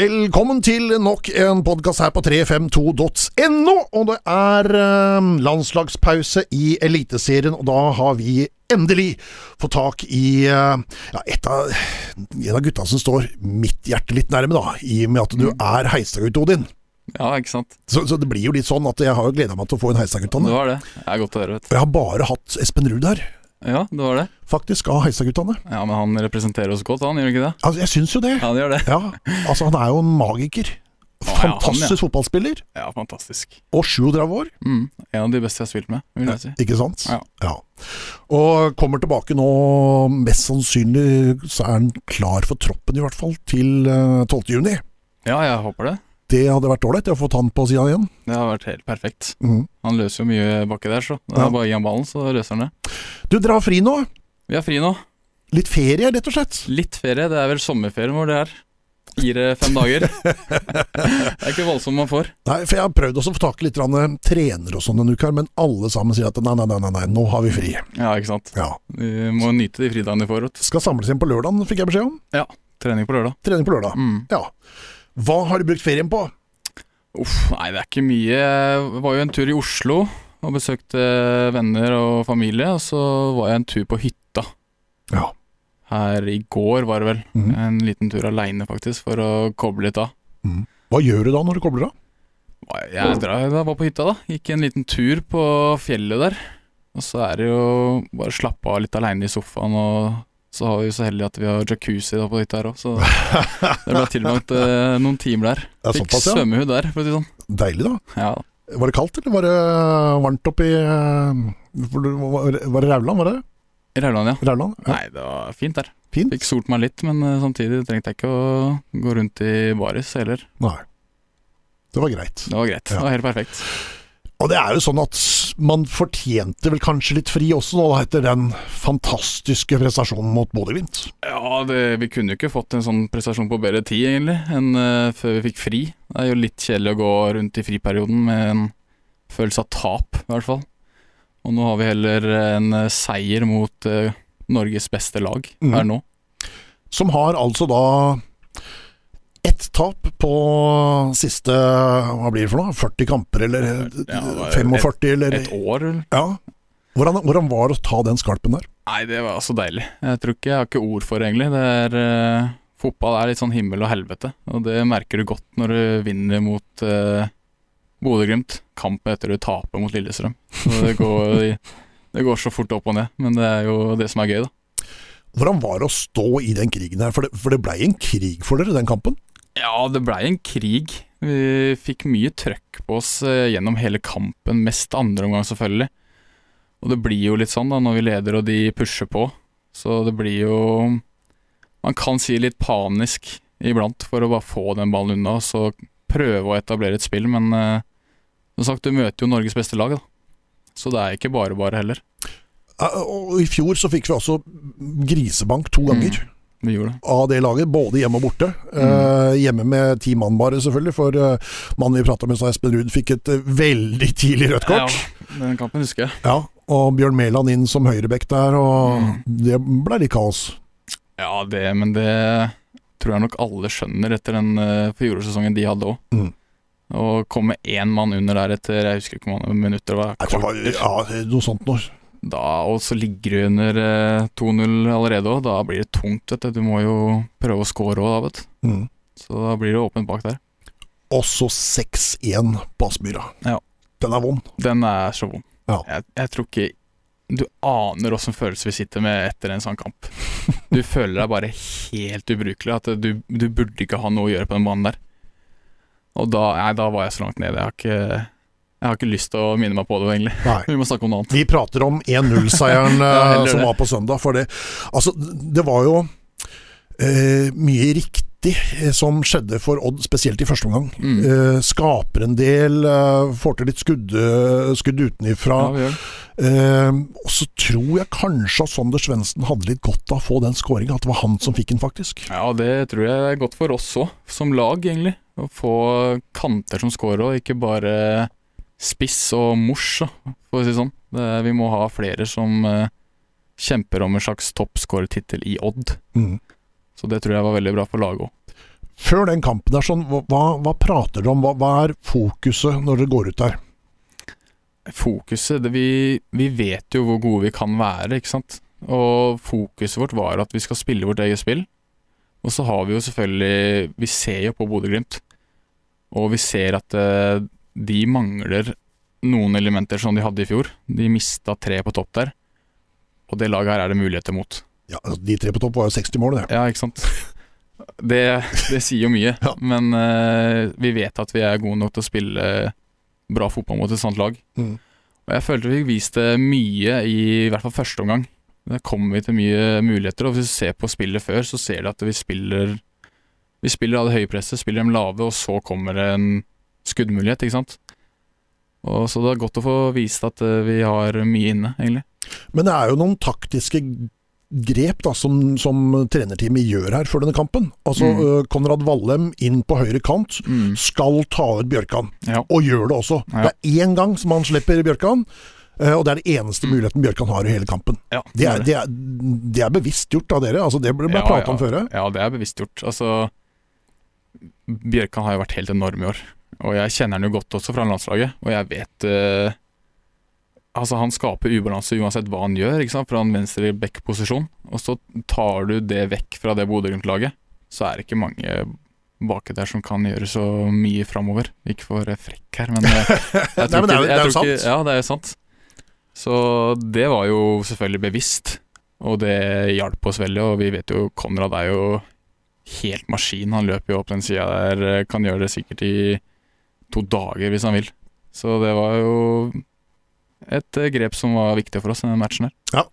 Velkommen til nok en podkast her på 352.no. Og det er eh, landslagspause i Eliteserien, og da har vi endelig fått tak i eh, ja, et av, en av gutta som står mitt hjerte litt nærme, da, i og med at Mm. du er heisagutt, Odin. Ja, ikke sant. Så, så det blir jo litt sånn at jeg har jo gleda meg til å få en heisagutt. Det Og var det. Det er godt å høre, vet du. jeg har bare hatt Espen Ruud her, Ja, det var det. faktisk, av heisaguttene. Ja, men han representerer oss godt, han, gjør han ikke det? Altså, jeg syns jo det. Ja, det gjør det. Ja, altså, han er jo en magiker. ja, han, ja. Fantastisk fotballspiller. Ja, fantastisk. Og 37 år. Mm. En av de beste jeg har spilt med, vil jeg si. Eh, Ikke sant? Ja. Og kommer tilbake nå, mest sannsynlig så er han klar for troppen i hvert fall, til eh, 12. juni. Ja, jeg håper det. Det hadde vært ålreit, jeg har fått han på sida igjen. Det har vært helt perfekt. Mhm. Han løser jo mye bakke der, så. Det Ja. er bare å gi ham ballen, så løser han det. Du, dere har fri nå? Vi har fri nå. Litt ferie, rett og slett? Litt ferie. Det er vel sommerferien vår, det her. Fire-fem dager. det er ikke voldsomt man får. Nei, for jeg har prøvd også å få tak i litt grann, eh, trenere og sånn denne uka, her, men alle sammen sier at nei, nei, nei, nei, nei nå har vi fri. Ja, ikke sant. Ja. Vi må nyte de fridagene vi får. vet du. Skal samles igjen på lørdagen, fikk jeg beskjed om. Trening på lørdag. Trening på lørdag. Mm. Ja. Hva har du brukt ferien på? Uff, nei, det er ikke mye. Jeg var jo en tur i Oslo og besøkte venner og familie. Og så var jeg en tur på hytta Ja. her i går, var det vel. Mhm. En liten tur aleine, faktisk, for å koble litt av. Hva gjør du da når du kobler av? Hva- Jeg dra- jeg var på hytta, da. Gikk en liten tur på fjellet der. Og så er det jo bare slappe av litt aleine i sofaen, og så har vi jo så heldig at vi har jacuzzi da på hytta her òg, så det ble tilbrakt eh, noen timer der. Det er Fikk såpass, ja. svømmehud der, for å si det sånn. Deilig, da. Ja, Var det kaldt, eller var det varmt oppi Var det- var det Rauland, var det? I Rauland, ja. Rauland? Ja, Nei, det var fint der. Fint. Fikk solt meg litt, men eh, samtidig trengte jeg ikke å gå rundt i baris heller. Nei. Det var greit. Det var greit. Ja. Det var helt perfekt. Og det er jo sånn at man fortjente vel kanskje litt fri også, nå, da, etter den fantastiske prestasjonen mot Bodø-Glimt. Ja, det, vi kunne jo ikke fått en sånn prestasjon på bedre tid, egentlig, enn eh, før vi fikk fri. Det er jo litt kjedelig å gå rundt i friperioden med en følelse av tap, i hvert fall. Og nå har vi heller en eh, seier mot eh, Norges beste lag Mhm. her nå. Som har altså da ett tap på siste Hva blir det for noe? 40 kamper, eller Ja, det var 45, eller Et år, eller? Ja. Hvordan, hvordan var det å ta den skalpen der? Nei, det var så deilig. Jeg tror ikke jeg har ikke ord for det, egentlig. Det er, eh, fotball er litt sånn himmel og helvete, og det merker du godt når du vinner mot uh, Bodø-Glimt. Kampen etter du taper mot Lillestrøm. Så det går, det går så fort opp og ned, men det er jo det som er gøy, da. Hvordan var det å stå i den krigen her? For det, for det blei en krig for dere, den kampen. Ja, det blei en krig. Vi fikk mye trøkk på oss eh, gjennom hele kampen, mest andre omgang selvfølgelig. Og det blir jo litt sånn da, når vi leder og de pusher på. Så det blir jo Man kan si litt panisk iblant for å bare få den ballen unna, og så prøve å etablere et spill, men eh, som sagt, du møter jo Norges beste lag, da. Så det er ikke bare bare heller. Eh, Og I fjor så fikk vi også grisebank to ganger Vi gjorde det. av det laget, både hjemme og borte. Mm. Eh, hjemme med ti mann bare, selvfølgelig, for eh, mannen vi prata med, sa Espen Ruud, fikk et eh, veldig tidlig rødt kort. Ja, den kampen husker jeg. Ja. Og Bjørn Mæland inn som høyrebekk der, og Mm. det blei litt kaos. Ja, det, men det tror jeg nok alle skjønner etter den eh, fjorårssesongen de hadde òg. Mm. Å komme én mann under der etter jeg husker ikke hvor mange minutter det var, Jeg tror det var ja, noe sånt noe. da, og så ligger du under eh, 2-0 allerede òg. Da blir det tungt, vet du. Du må jo prøve å score òg, da, vet du. Mm. Så da blir det åpent bak der. Og så 6-1 på Aspmyra. Ja. Den er vond. Den er så vond. Ja. Jeg, jeg tror ikke du aner åssen følelse vi sitter med etter en sånn kamp. Du føler deg bare helt ubrukelig. At du, du burde ikke ha noe å gjøre på den banen der. Og da, nei, da var jeg så langt nede. Jeg har ikke, jeg har ikke lyst til å minne meg på det, egentlig. Nei. Vi må snakke om noe annet. Vi prater om 1-0-seieren Ja, eh, heller som det. var på søndag. For det, altså, det var jo eh, mye riktig eh, som skjedde for Odd, spesielt i første omgang. Mm. Eh, skaper en del, eh, får til litt skudd, eh, skudd utenifra. Ja, vi gjør det. Eh, og så tror jeg kanskje at Sonder Svendsen hadde litt godt av å få den skåringa. At det var han som fikk den, faktisk. ja, det tror jeg er godt for oss òg, som lag, egentlig. Å få kanter som scorer òg, ikke bare spiss og mors, da, for å si det sånn. Det, vi må ha flere som eh, kjemper om en slags toppskårertittel i Odd. Mm. Så det tror jeg var veldig bra for laget òg. Før den kampen der, sånn, hva- hva, hva prater dere om? Hva, hva er fokuset når dere går ut der? Fokuset det, vi, vi vet jo hvor gode vi kan være, ikke sant? Og fokuset vårt var at vi skal spille vårt eget spill. Og så har vi jo selvfølgelig Vi ser jo på Bodø-Glimt, og vi ser at eh, de mangler noen elementer som de hadde i fjor. De mista tre på topp der, og det laget her er det muligheter mot. Ja, altså, de tre på topp var jo 60 mål, det. Ja, ikke sant? Det, det sier jo mye, Ja. men eh, vi vet at vi er gode nok til å spille bra fotball mot et sånt lag. Mm. Og jeg følte vi viste mye i, i hvert fall første omgang. Der kom vi til mye muligheter, og hvis du ser på spillet før, så ser du at vi spiller Vi spiller av det høye presset, spiller dem lave, og så kommer det en skuddmulighet, ikke sant? Og Så det er godt å få vist at eh, vi har mye inne, egentlig. Men det er jo noen taktiske grep da, som, som trenerteamet gjør her før denne kampen. Altså, Mm. øh, Konrad Wallem inn på høyre kant Mm. skal ta ut Bjørkan, Ja. og gjør det også. Ja. Det er én gang som han slipper Bjørkan, øh, og det er den eneste muligheten Bjørkan har i hele kampen. Mm. Ja, Det er, det er, det er bevisst gjort av dere, altså, det ble ble Ja, pratet ja. om før. ja. Ja, det er bevisst gjort. Altså, Bjørkan har jo vært helt enorm i år. Og jeg kjenner han jo godt også fra landslaget, og jeg vet eh, Altså, han skaper ubalanse uansett hva han gjør, ikke sant, fra en venstre back-posisjon. Og så tar du det vekk fra det Bodø-Glimt-laget, så er det ikke mange baki der som kan gjøre så mye framover. Ikke for å være frekk her, men eh, jeg Nei, tror men det er jo- ikke- jeg det er jo tror ikke- sant. Ja, det er jo sant. Så det var jo selvfølgelig bevisst, og det hjalp oss veldig. Og vi vet jo Konrad er jo helt maskin. Han løper jo opp den sida der, eh, kan gjøre det sikkert i to dager hvis han vil. Så det var jo et eh, grep som var viktig for oss i den matchen her.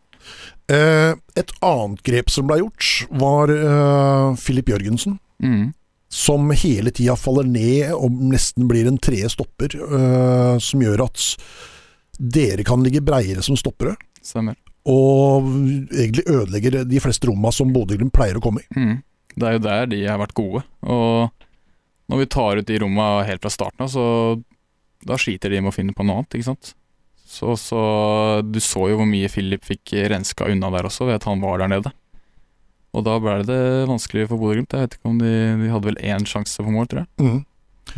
Eh, et annet grep som ble gjort, var eh, Filip Jørgensen. Mm. Som hele tida faller ned og nesten blir en tredje stopper. eh, som gjør at dere kan ligge breiere som stoppere. Stemmer. Og egentlig ødelegger de fleste romma som Bodø-Glimt pleier å komme i. Mm. Det er jo der de har vært gode. Og når vi tar ut de romma helt fra starten av, så da skiter de med å finne på noe annet, ikke sant. Så, så du så jo hvor mye Philip fikk renska unna der også, ved at han var der nede. Og da ble det vanskelig for Bodø-Glimt. Jeg vet ikke om de, de hadde vel én sjanse på mål, tror jeg. Mm.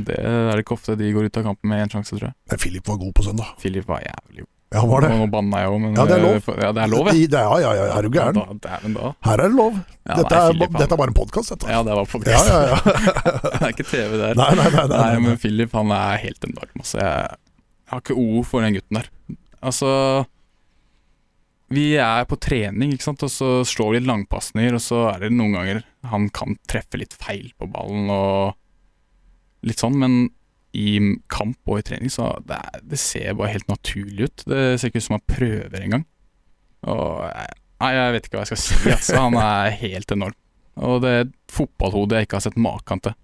Det er ikke ofte de går ut av kampen med én sjanse, tror jeg. Men Filip var god på søndag. Philip var jævlig god. Ja, han var det. Nå- Nå banna jeg òg, men Ja, det er lov. eh, Ja, det er lov, ja. I- det- ja, ja, ja, er du gæren? Ja, da- Dæven, da. Her er det lov. Ja, Dette nei, er, Philip, han- dette er bare en podkast, dette. Ja, det var på Ja, ja, ja. Det er ikke TV der. Nei, nei, nei. nei, Nei, nei, nei. men Philip han er helt enorm. Altså, jeg, jeg har ikke ord for den gutten der. Altså Vi er på trening, ikke sant, og så slår vi litt langpasninger, og så er det noen ganger han kan treffe litt feil på ballen og litt sånn, men i kamp og i trening så det, er, det ser bare helt naturlig ut. Det ser ikke ut som han prøver engang. Og jeg- Nei, jeg vet ikke hva jeg skal si. Altså, han er helt enorm. Og det er et fotballhode jeg ikke har sett maken til.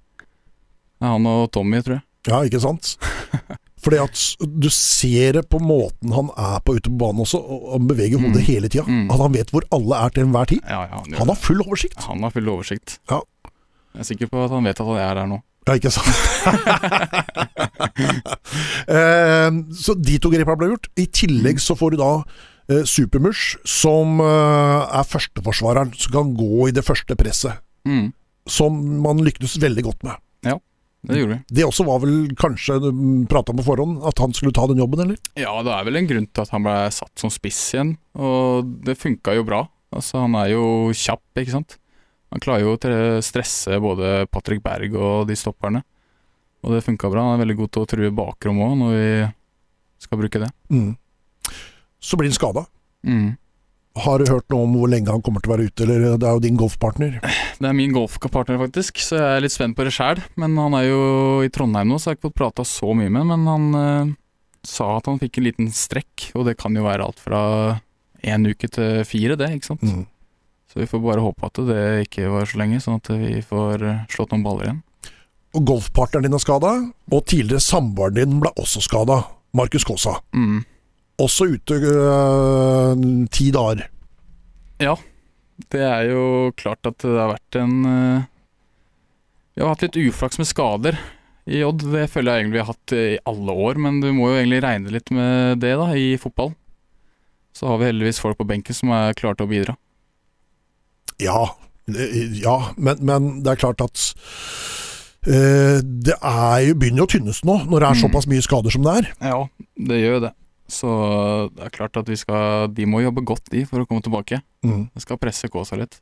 Det er han og Tommy, tror jeg. Ja, ikke sant? Fordi at du ser det på måten han er på ute på banen også, og han beveger Mm. hodet hele tida. Mm. At han vet hvor alle er til enhver tid. Ja, ja, han, gjør Han det. har full oversikt. han har full oversikt. Ja. Jeg er sikker på at han vet at han er der nå. Ja, ikke sant? eh, så de to grepa ble gjort. I tillegg så får du da eh, Supermush, som eh, er førsteforsvareren som kan gå i det første presset. Mm, Som man lyktes veldig godt med. det gjorde vi. Det også var vel kanskje prata om på forhånd, at han skulle ta den jobben, eller? Ja, det er vel en grunn til at han ble satt som spiss igjen, og det funka jo bra. Altså, han er jo kjapp, ikke sant. Han klarer jo til å stresse både Patrick Berg og de stopperne, og det funka bra. Han er veldig god til å true bakrom òg, når vi skal bruke det. Mm. Så blir han skada. Mm. Har du hørt noe om hvor lenge han kommer til å være ute, eller eh, det er jo din golfpartner? Det er min golfpartner, faktisk, så jeg er litt spent på det sjæl. Men han er jo i Trondheim nå, så jeg har ikke fått prata så mye med ham. Men han eh, sa at han fikk en liten strekk, og det kan jo være alt fra én uke til fire, det, ikke sant. Mm. Så vi får bare håpe at det ikke var så lenge, sånn at vi får eh, slått noen baller igjen. Og golfpartneren din er skada, og tidligere samboeren din ble også skada. Markus Kaasa. Mm. Også ute øh, ti dager. Det er jo klart at det har vært en eh, Vi har hatt litt uflaks med skader i Odd. Det føler jeg egentlig vi har hatt eh, i alle år, men du må jo egentlig regne litt med det da, i fotball. Så har vi heldigvis folk på benken som er klare til å bidra. Ja, Ja, men, men det er klart at eh, det er jo, begynner jo å tynnes nå, når det er Mm. såpass mye skader som det er. Ja, det gjør jo det. Så det er klart at vi skal De må jobbe godt, de, for å komme tilbake. Vi skal presse Kaasa litt.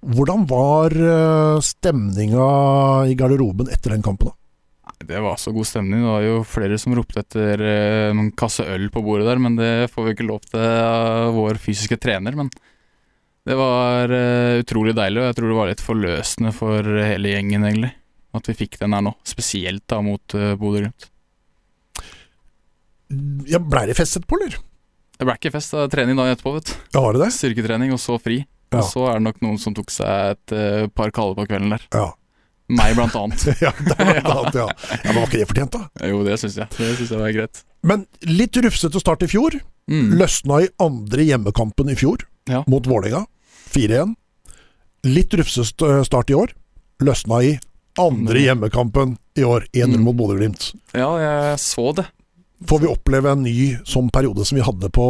Mm. Hvordan var eh, stemninga i garderoben etter den kampen? da? Nei, Det var så god stemning. Det var jo flere som ropte etter eh, en kasse øl på bordet der, men det får vi ikke lov til av vår fysiske trener. Men det var eh, utrolig deilig, og jeg tror det var litt forløsende for hele gjengen, egentlig. At vi fikk den her nå, spesielt da mot eh, Bodø-Glimt. Ja, Blei det festet på, eller? Det ble ikke fest, det er trening dagen etterpå, vet du. Ja, var det det? Styrketrening, og så fri. Ja. Og så er det nok noen som tok seg et eh, par kalde på kvelden der. Ja. Meg blant annet. ja, det var blant annet, ja. ja, men var ikke det fortjent, da? Jo, det syns jeg. Det syns jeg var greit. Men litt rufsete start i fjor. Mm. Løsna i andre hjemmekampen i fjor, Ja. mot Vålerenga. 4-1. Litt rufsete start i år. Løsna i andre Mm. hjemmekampen i år. 1-0 Mm. mot Bodø-Glimt. Ja, jeg så det. Får vi oppleve en ny sånn periode som vi hadde på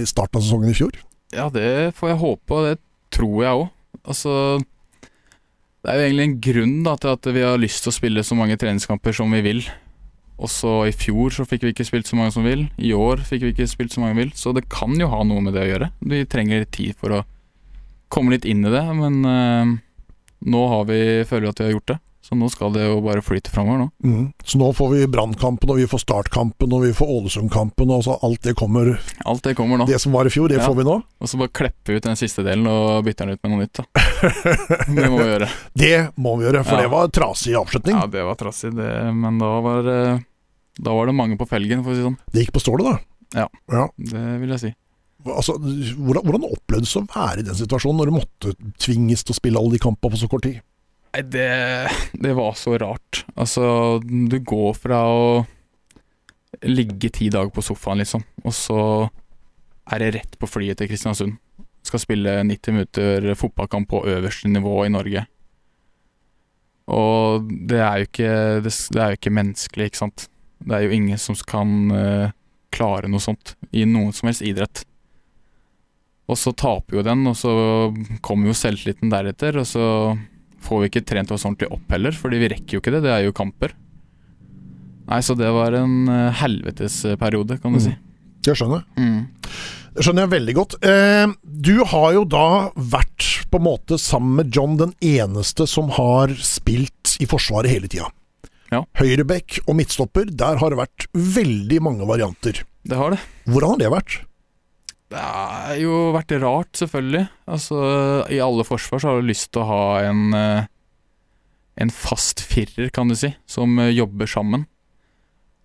i starten av sesongen i fjor? Ja, det får jeg håpe, og det tror jeg òg. Altså Det er jo egentlig en grunn da, til at vi har lyst til å spille så mange treningskamper som vi vil. Også i fjor så fikk vi ikke spilt så mange som vi vil. I år fikk vi ikke spilt så mange vi vil. Så det kan jo ha noe med det å gjøre. Vi trenger litt tid for å komme litt inn i det, men eh, nå har vi, føler vi at vi har gjort det. Så nå skal det jo bare flyte framover nå. Så nå får vi Brannkampen, og vi får Startkampen, og vi får Ålesundkampen. Og så alt det kommer Alt det kommer nå. Det som var i fjor, det Ja. får vi nå. Og så bare kleppe ut den siste delen og bytte den ut med noe nytt. da Det må vi gjøre. Det må vi gjøre, for Ja. det var trasig avslutning. Ja, det var trassig, det, men da var, eh, da var det mange på felgen, for å si det sånn. Det gikk på stålet, da. Ja. Det vil jeg si. Altså, hvordan, hvordan opplevdes det å være i den situasjonen, når du måtte tvinges til å spille alle de kampene på så kort tid? Nei, det, det var så rart. Altså, du går fra å ligge ti dager på sofaen, liksom, og så er det rett på flyet til Kristiansund. Skal spille 90 minutter fotballkamp på øverste nivå i Norge. Og det er jo ikke, det, s- det er jo ikke menneskelig, ikke sant. Det er jo ingen som kan eh, klare noe sånt i noen som helst idrett. Og så taper jo den, og så kommer jo selvtilliten deretter, og så får vi ikke trent oss ordentlig opp heller, fordi vi rekker jo ikke det. Det er jo kamper. Nei, så det var en eh, helvetes periode, kan du Mm. si. Jeg skjønner. Mm. Det skjønner jeg veldig godt. Eh, du har jo da vært på en måte sammen med John den eneste som har spilt i Forsvaret hele tida. Ja. Høyrebekk og midtstopper, der har det vært veldig mange varianter. Det har det. Hvordan har det vært? Det har jo vært rart, selvfølgelig. Altså, I alle forsvar så har du lyst til å ha en eh, En fast firer, kan du si, som eh, jobber sammen.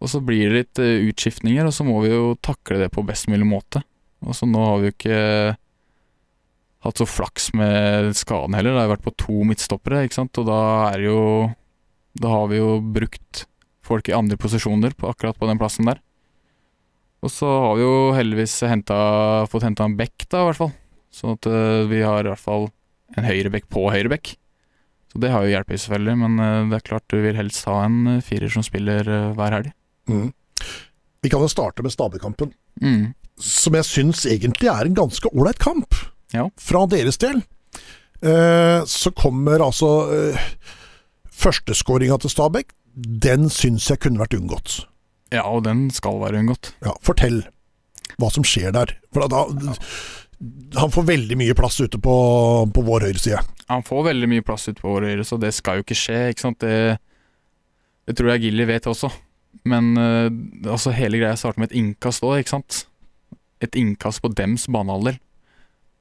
Og så blir det litt eh, utskiftninger, og så må vi jo takle det på best mulig måte. Og så nå har vi jo ikke hatt så flaks med skaden heller. Det har jo vært på to midtstoppere, ikke sant, og da er det jo Da har vi jo brukt folk i andre posisjoner på, akkurat på den plassen der. Og så har vi jo heldigvis henta- fått henta en bekk, da, i hvert fall. Sånn at eh, vi har i hvert fall en høyrebekk på høyrebekk. Så det har jo hjulpet, selvfølgelig. Men eh, det er klart du vil helst ha en eh, firer som spiller eh, hver helg. Mm. Vi kan jo starte med Stabøkampen, Mm. som jeg syns egentlig er en ganske ålreit kamp. Ja. Fra deres del. Eh, så kommer altså eh, førsteskåringa til Stabæk. Den syns jeg kunne vært unngått. Ja, og den skal være unngått. Ja, fortell hva som skjer der. For da, han får veldig mye plass ute på, på vår høyre side. Han får veldig mye plass ute på vår høyre, så det skal jo ikke skje. ikke sant? Det, det tror jeg Gilly vet også. Men eh, altså hele greia starter med et innkast òg, ikke sant? Et innkast på dems banehalvdel.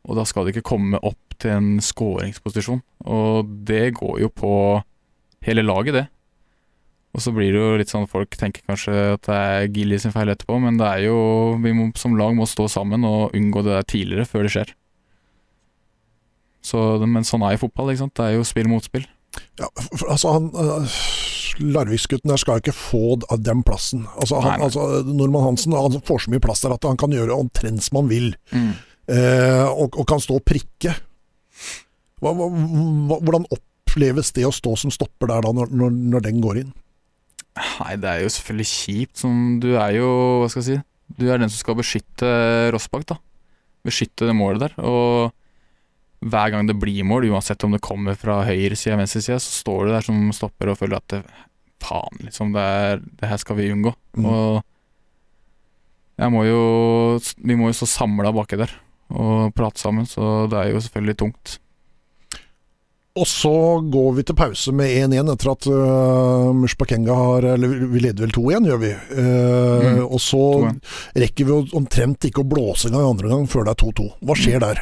Og da skal det ikke komme opp til en skåringsposisjon. Og det går jo på hele laget, det. Og så blir det jo litt sånn folk tenker kanskje at det er Gilly sin feil etterpå, men det er jo Vi må, som lag må stå sammen og unngå det der tidligere, før det skjer. Så, men sånn er jo fotball, ikke sant. Det er jo spill mot spill. Ja, for, for altså han øh, Larviksgutten der skal jo ikke få d- den plassen. Altså, han, Nei, nei. altså Norman Hansen han får så mye plass der at han kan gjøre omtrent som han vil. Eh, og, og kan stå og prikke. Hva, hva, hva, hvordan oppleves det å stå som stopper der da, når, når, når den går inn? Nei, det er jo selvfølgelig kjipt. Som du er jo, hva skal jeg si Du er den som skal beskytte Rossbakk, da. Beskytte det målet der. Og hver gang det blir mål, uansett om det kommer fra høyresida, venstresida, så står du der som stopper og føler at det, faen, liksom, det, er, det her skal vi unngå. Mm. Og jeg må jo Vi må jo stå samla baki der og prate sammen, så det er jo selvfølgelig tungt. Og så går vi til pause med 1-1 etter at uh, Mushbakenga har Eller vi leder vel 2-1, gjør vi. Øh, Mm, og så rekker vi jo omtrent ikke å blåse engang andre gang før det er 2-2. Hva skjer Mm. der?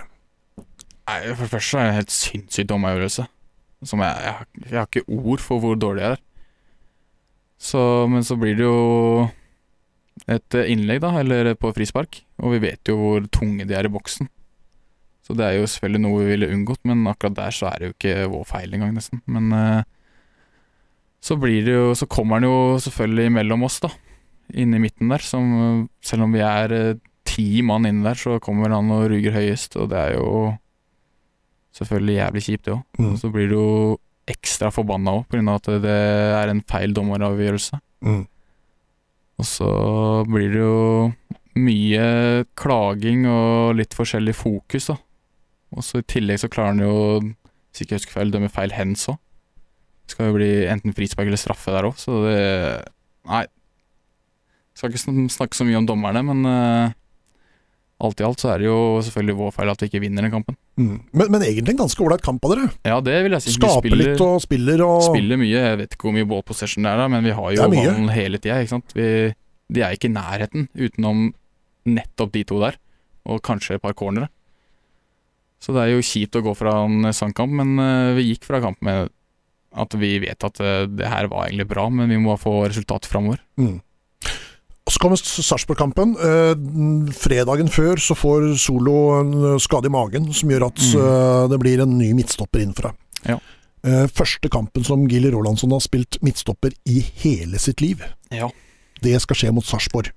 Nei, For det første er det en helt sinnssyk dommeravgjørelse. Som jeg, jeg, har- jeg har ikke ord for hvor dårlig jeg er. Så, men så blir det jo et eh, innlegg, da, eller på frispark. Og vi vet jo hvor tunge de er i boksen. Så det er jo selvfølgelig noe vi ville unngått, men akkurat der så er det jo ikke vår feil engang, nesten. Men eh, så blir det jo Så kommer han jo selvfølgelig mellom oss, da. Inne i midten der, som eh, selv om vi er eh, ti mann inne der, så kommer han og ruger høyest, og det er jo selvfølgelig jævlig kjipt, det òg. Mm, Så blir du jo ekstra forbanna òg, pga. at det er en feil dommeravgjørelse. mm, Og så blir det jo mye klaging og litt forskjellig fokus, da. Og så i tillegg så klarer han jo, hvis ikke jeg husker feil, dømme feil hands òg. Det skal jo bli enten frispark eller straffe der òg, så det Nei. Skal ikke sn- snakke så mye om dommerne, men eh, alt i alt så er det jo selvfølgelig vår feil at vi ikke vinner den kampen. mm. Men, men egentlig en ganske ålreit kamp av dere. Ja, det vil jeg si. Vi Skaper spiller- litt og spiller og spiller mye. Jeg vet ikke hvor mye ball possession det er, da, men vi har Det jo er mye. ballen hele tida. ikke sant? Vi, de er ikke i nærheten utenom nettopp de to der, og kanskje et par cornere. Så det er jo kjipt å gå fra en sånn kamp, men eh, vi gikk fra kamp med at vi vet at eh, det her var egentlig bra, men vi må få resultat framover. Mm. Og Så kommer S- Sarpsborg-kampen. Eh, n- fredagen før så får Solo en eh, skade i magen som gjør at Mm. eh, det blir en ny midtstopper innenfra. Ja. Eh, første kampen som Gilly Rolandsson har spilt midtstopper i hele sitt liv. Ja. Det skal skje mot Sarpsborg.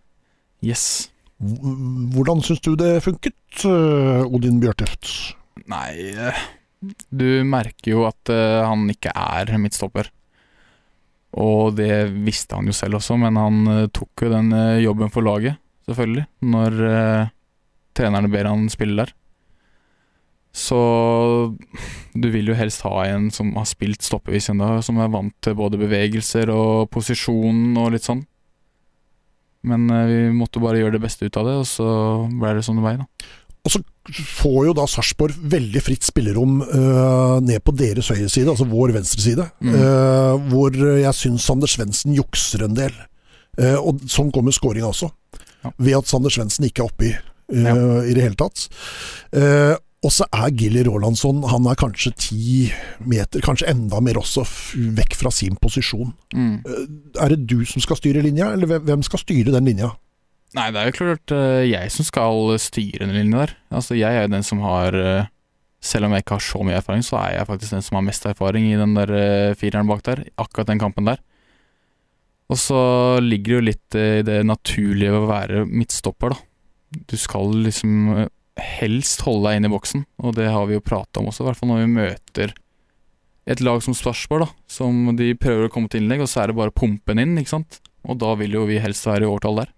Yes. Hv- Hvordan syns du det funket, eh, Odin Bjørteft? Nei eh, Du merker jo at eh, han ikke er midtstopper. Og det visste han jo selv også, men han eh, tok jo den eh, jobben for laget, selvfølgelig, når eh, trenerne ber han spille der. Så du vil jo helst ha en som har spilt stoppevis ennå, som er vant til både bevegelser og posisjon og litt sånn. Men eh, vi måtte bare gjøre det beste ut av det, og så ble det som det ble, da. Får jo da Sarpsborg veldig fritt spillerom eh, ned på deres høyre side, altså vår venstre side, Mm. eh, hvor jeg syns Sander Svendsen jukser en del. Eh, og sånn kommer skåringa også, Ja. ved at Sander Svendsen ikke er oppi eh, Ja. i det hele tatt. Eh, og så er Gilly Rolandsson han er kanskje ti meter, kanskje enda mer også, f- vekk fra sin posisjon. Mm. Er det du som skal styre linja, eller hvem- hvem skal styre den linja? Nei, det er jo klart eh, jeg som skal styre den linja der. Altså, jeg er jo den som har eh, Selv om jeg ikke har så mye erfaring, så er jeg faktisk den som har mest erfaring i den der eh, fireren bak der. Akkurat den kampen der. Og så ligger det jo litt eh, i det naturlige å være midtstopper, da. Du skal liksom eh, helst holde deg inne i boksen, og det har vi jo prata om også, i hvert fall når vi møter et lag som Sarpsborg, da. Som de prøver å komme til innlegg, og så er det bare å pumpe den inn, ikke sant. Og da vil jo vi helst være i årtall der.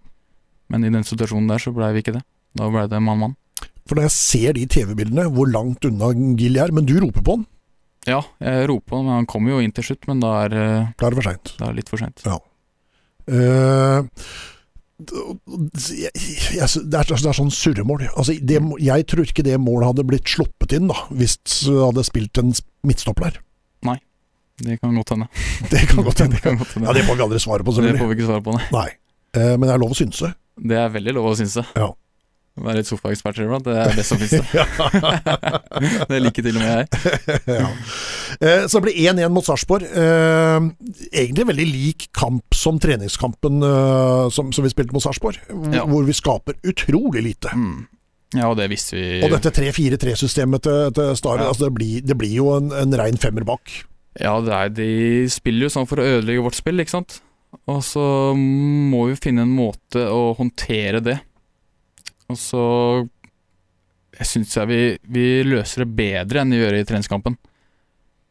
Men i den situasjonen der så blei vi ikke det. Da blei det mann-mann. For når jeg ser de TV-bildene, hvor langt unna Gilly er, men du roper på han, Ja, jeg roper han, men han kommer jo inn til slutt, men da er eh, da er det for seint. da er det litt for seint. Eh, jeg, jeg, det, er, det er sånn surremål. Altså, det, jeg tror ikke det målet hadde blitt sluppet inn da, hvis det hadde spilt en midtstopper der. Det kan godt hende. Det kan godt hende. Det kan godt Ja, hende. det får vi aldri svaret på, det selvfølgelig. får vi ikke svare på, nei. Nei. Eh, men det er lov å synse. Det er veldig lov å synse. Ja. Å være litt sofaeksperter iblant, det er det som finnes. ja. det. det liker til og med jeg. Eh, så det ble 1-1 mot Sarpsborg. Eh, egentlig veldig lik kamp som treningskampen eh, som, som vi spilte mot Sarpsborg, hvor, Ja. hvor vi skaper utrolig lite. Mm. Ja, og det visste vi. Og dette 3-4-3-systemet til, til Stare, Ja. altså det, blir, det blir jo en, en rein femmer bak. Ja, det er, de spiller jo sånn for å ødelegge vårt spill, ikke sant? Og så må vi finne en måte å håndtere det. Og så Jeg syns jeg vi, vi løser det bedre enn vi gjør i treningskampen.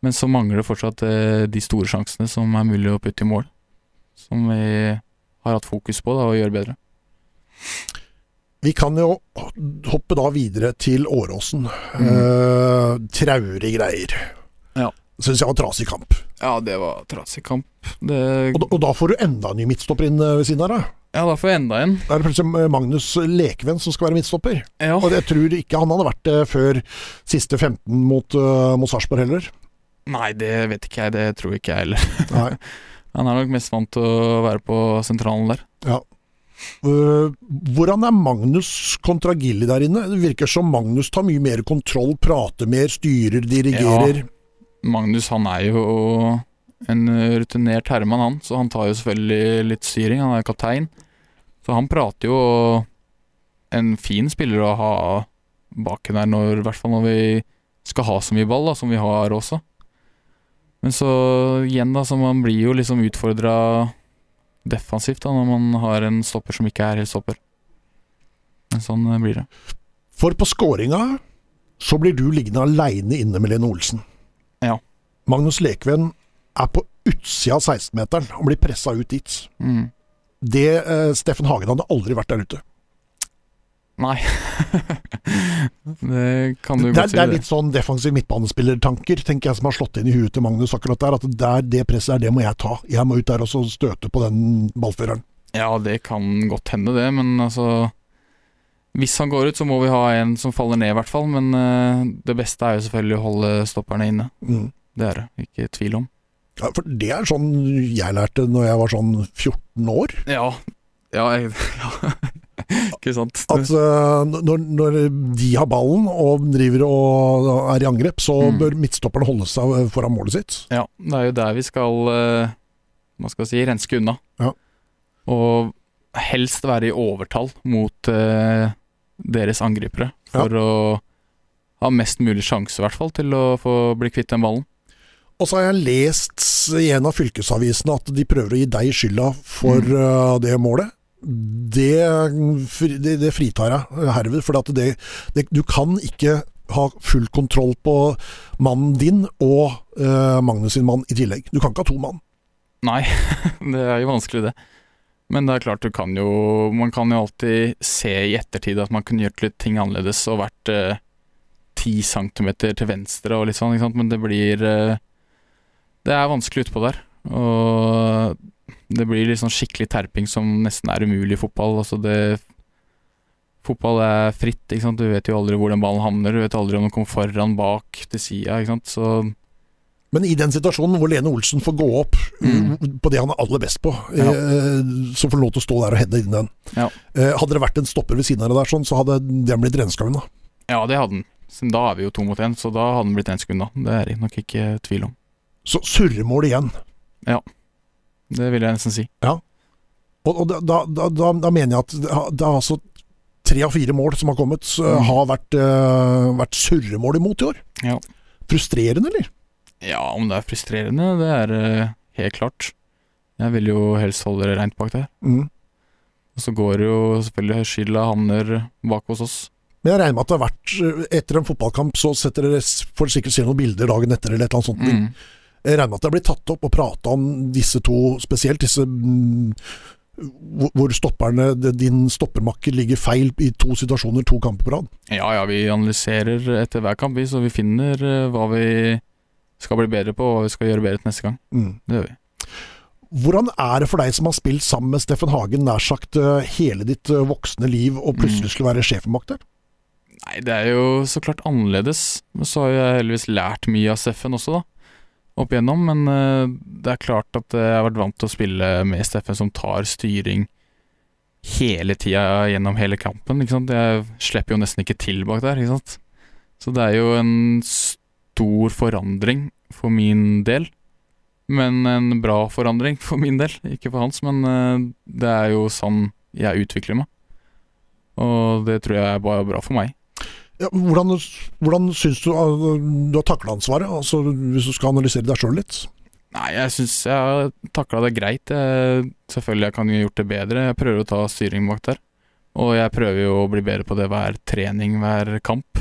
Men så mangler det fortsatt eh, de store sjansene som er mulig å putte i mål. Som vi har hatt fokus på da, å gjøre bedre. Vi kan jo hoppe da videre til Åråsen. Eh, traurige greier. Ja. Syns jeg var trasig kamp. Ja, det var trasig kamp. Det, Og da, og da får du enda en ny midtstopper inn eh, ved siden av deg. ja, da får jeg enda en. Da er det plutselig eh, Magnus Lekevenn som skal være midtstopper. Ja. Og jeg tror ikke han hadde vært det før siste 15 mot, uh, mot Sarpsborg heller. Nei, det vet ikke jeg. Det tror ikke jeg heller. Nei. Han er nok mest vant til å være på sentralen der. Eh, hvordan er Magnus kontra Gilly der inne? Det virker som Magnus tar mye mer kontroll, prater mer, styrer, dirigerer. Magnus han er jo en rutinert herremann, han, så han tar jo selvfølgelig litt styring. Han er kaptein. Så han prater jo og en fin spiller å ha baki der, når, i hvert fall når vi skal ha så mye ball da, som vi har også. Men så igjen, da, så man blir jo liksom utfordra defensivt da, når man har en stopper som ikke er helt stopper. Men sånn eh, blir det. For på skåringa så blir du liggende aleine inne med Lene Olsen. Ja. Magnus Lekven er på utsida av 16-meteren og blir pressa ut dit. Mm. Det eh, Steffen Hagen hadde aldri vært der ute. Nei. det kan du Det, godt er, si. det er det. litt sånn defensiv midtbanespillertanker, tenker jeg, som har slått inn i huet til Magnus akkurat der. At det er det presset der, det må jeg ta. Jeg må ut der og så støte på den ballføreren. Ja, det kan godt hende, det, men altså Hvis han går ut, så må vi ha en som faller ned, i hvert fall. Men eh, det beste er jo selvfølgelig å holde stopperne inne. Mm. Det er det ikke tvil om. Ja, for det er sånn jeg lærte når jeg var sånn 14 år. Ja. Ja, jeg, ja. ikke sant? At eh, når, når de har ballen og driver og er i angrep, så Mm. bør midtstopperne holde seg eh, foran målet sitt. Ja, det er jo der vi skal eh, Hva skal jeg si, renske unna. Ja. Og helst være i overtall mot eh, deres angripere. For å ha mest mulig sjanse, i hvert fall, til å få bli kvitt den ballen. Og så har jeg lest i en av fylkesavisene at de prøver å gi deg skylda for eh, det målet. Det, fri- det, det fritar jeg eh, herved, for at det, det, du kan ikke ha full kontroll på mannen din og eh, Magnus sin mann i tillegg. Du kan ikke ha to mann. Nei, det er jo vanskelig, det. Men det er klart, du kan jo Man kan jo alltid se i ettertid at man kunne gjort litt ting annerledes og vært eh, ti centimeter til venstre og litt sånn, ikke sant, men det blir eh, Det er vanskelig utpå der. Og det blir liksom skikkelig terping som nesten er umulig i fotball. Altså det Fotball er fritt, ikke sant. Du vet jo aldri hvor den ballen havner. Du vet aldri om den kommer foran, bak, til sida, ikke sant. Så Men i den situasjonen hvor Lene Olsen får gå opp Mm. uh, på det han er aller best på, Ja. eh, så får han lov til å stå der og heade inn den. Ja. Eh, hadde det vært en stopper ved siden av det der, sånn, så hadde den blitt renska unna. Ja, det hadde den. Så da er vi jo to mot én, så da hadde den blitt én sekund, da. Det er jeg nok ikke tvil om. Så surremål igjen. Det vil jeg nesten si. Og, og da, da, da- da, da mener jeg at det har- det har altså tre av fire mål som har kommet, så Mm. har vært, eh, vært surremål imot i år. Ja. Frustrerende, eller? Ja, om det er frustrerende, det er eh, helt klart. Jeg vil jo helst holde det rent bak der. Mm. Og så går jo selvfølgelig skylda havner bak hos oss. Men jeg regner med at det har vært eh, Etter en fotballkamp så setter dere s- får dere sikkert se noen bilder dagen etter eller et eller annet sånt. Mm. Jeg regner med at det blir tatt opp og prata om disse to spesielt. Disse mm, hvor- hvor stopperne, din stoppermakker ligger feil i to situasjoner to kamper på rad. Ja ja, vi analyserer etter hver kamp, vi, så vi finner eh, hva vi skal bli bedre på, og hva vi skal gjøre bedre til neste gang. Det gjør vi. Hvordan er det for deg som har spilt sammen med Steffen Hagen nær sagt eh, hele ditt eh, voksne liv, og Mm. plutselig skulle være sjefmakter? Nei, det er jo så klart annerledes. Men så har jo jeg heldigvis lært mye av Steffen også, da. Opp igjennom. Men eh, det er klart at jeg har vært vant til å spille med Steffen som tar styring hele tida gjennom hele kampen. ikke sant? Jeg slipper jo nesten ikke til bak der, ikke sant. Så det er jo en stor forandring for min del. Men en bra forandring for min del, ikke for hans. Men eh, det er jo sånn jeg utvikler meg. Og det tror jeg er bare bra for meg. Ja, hvordan, hvordan syns du eh, du har takla ansvaret, altså, hvis du skal analysere deg sjøl litt? Nei, jeg syns jeg har takla det greit. Jeg, selvfølgelig jeg kan jo gjort det bedre. Jeg prøver å ta styring bak der. Og jeg prøver jo å bli bedre på det hver trening, hver kamp.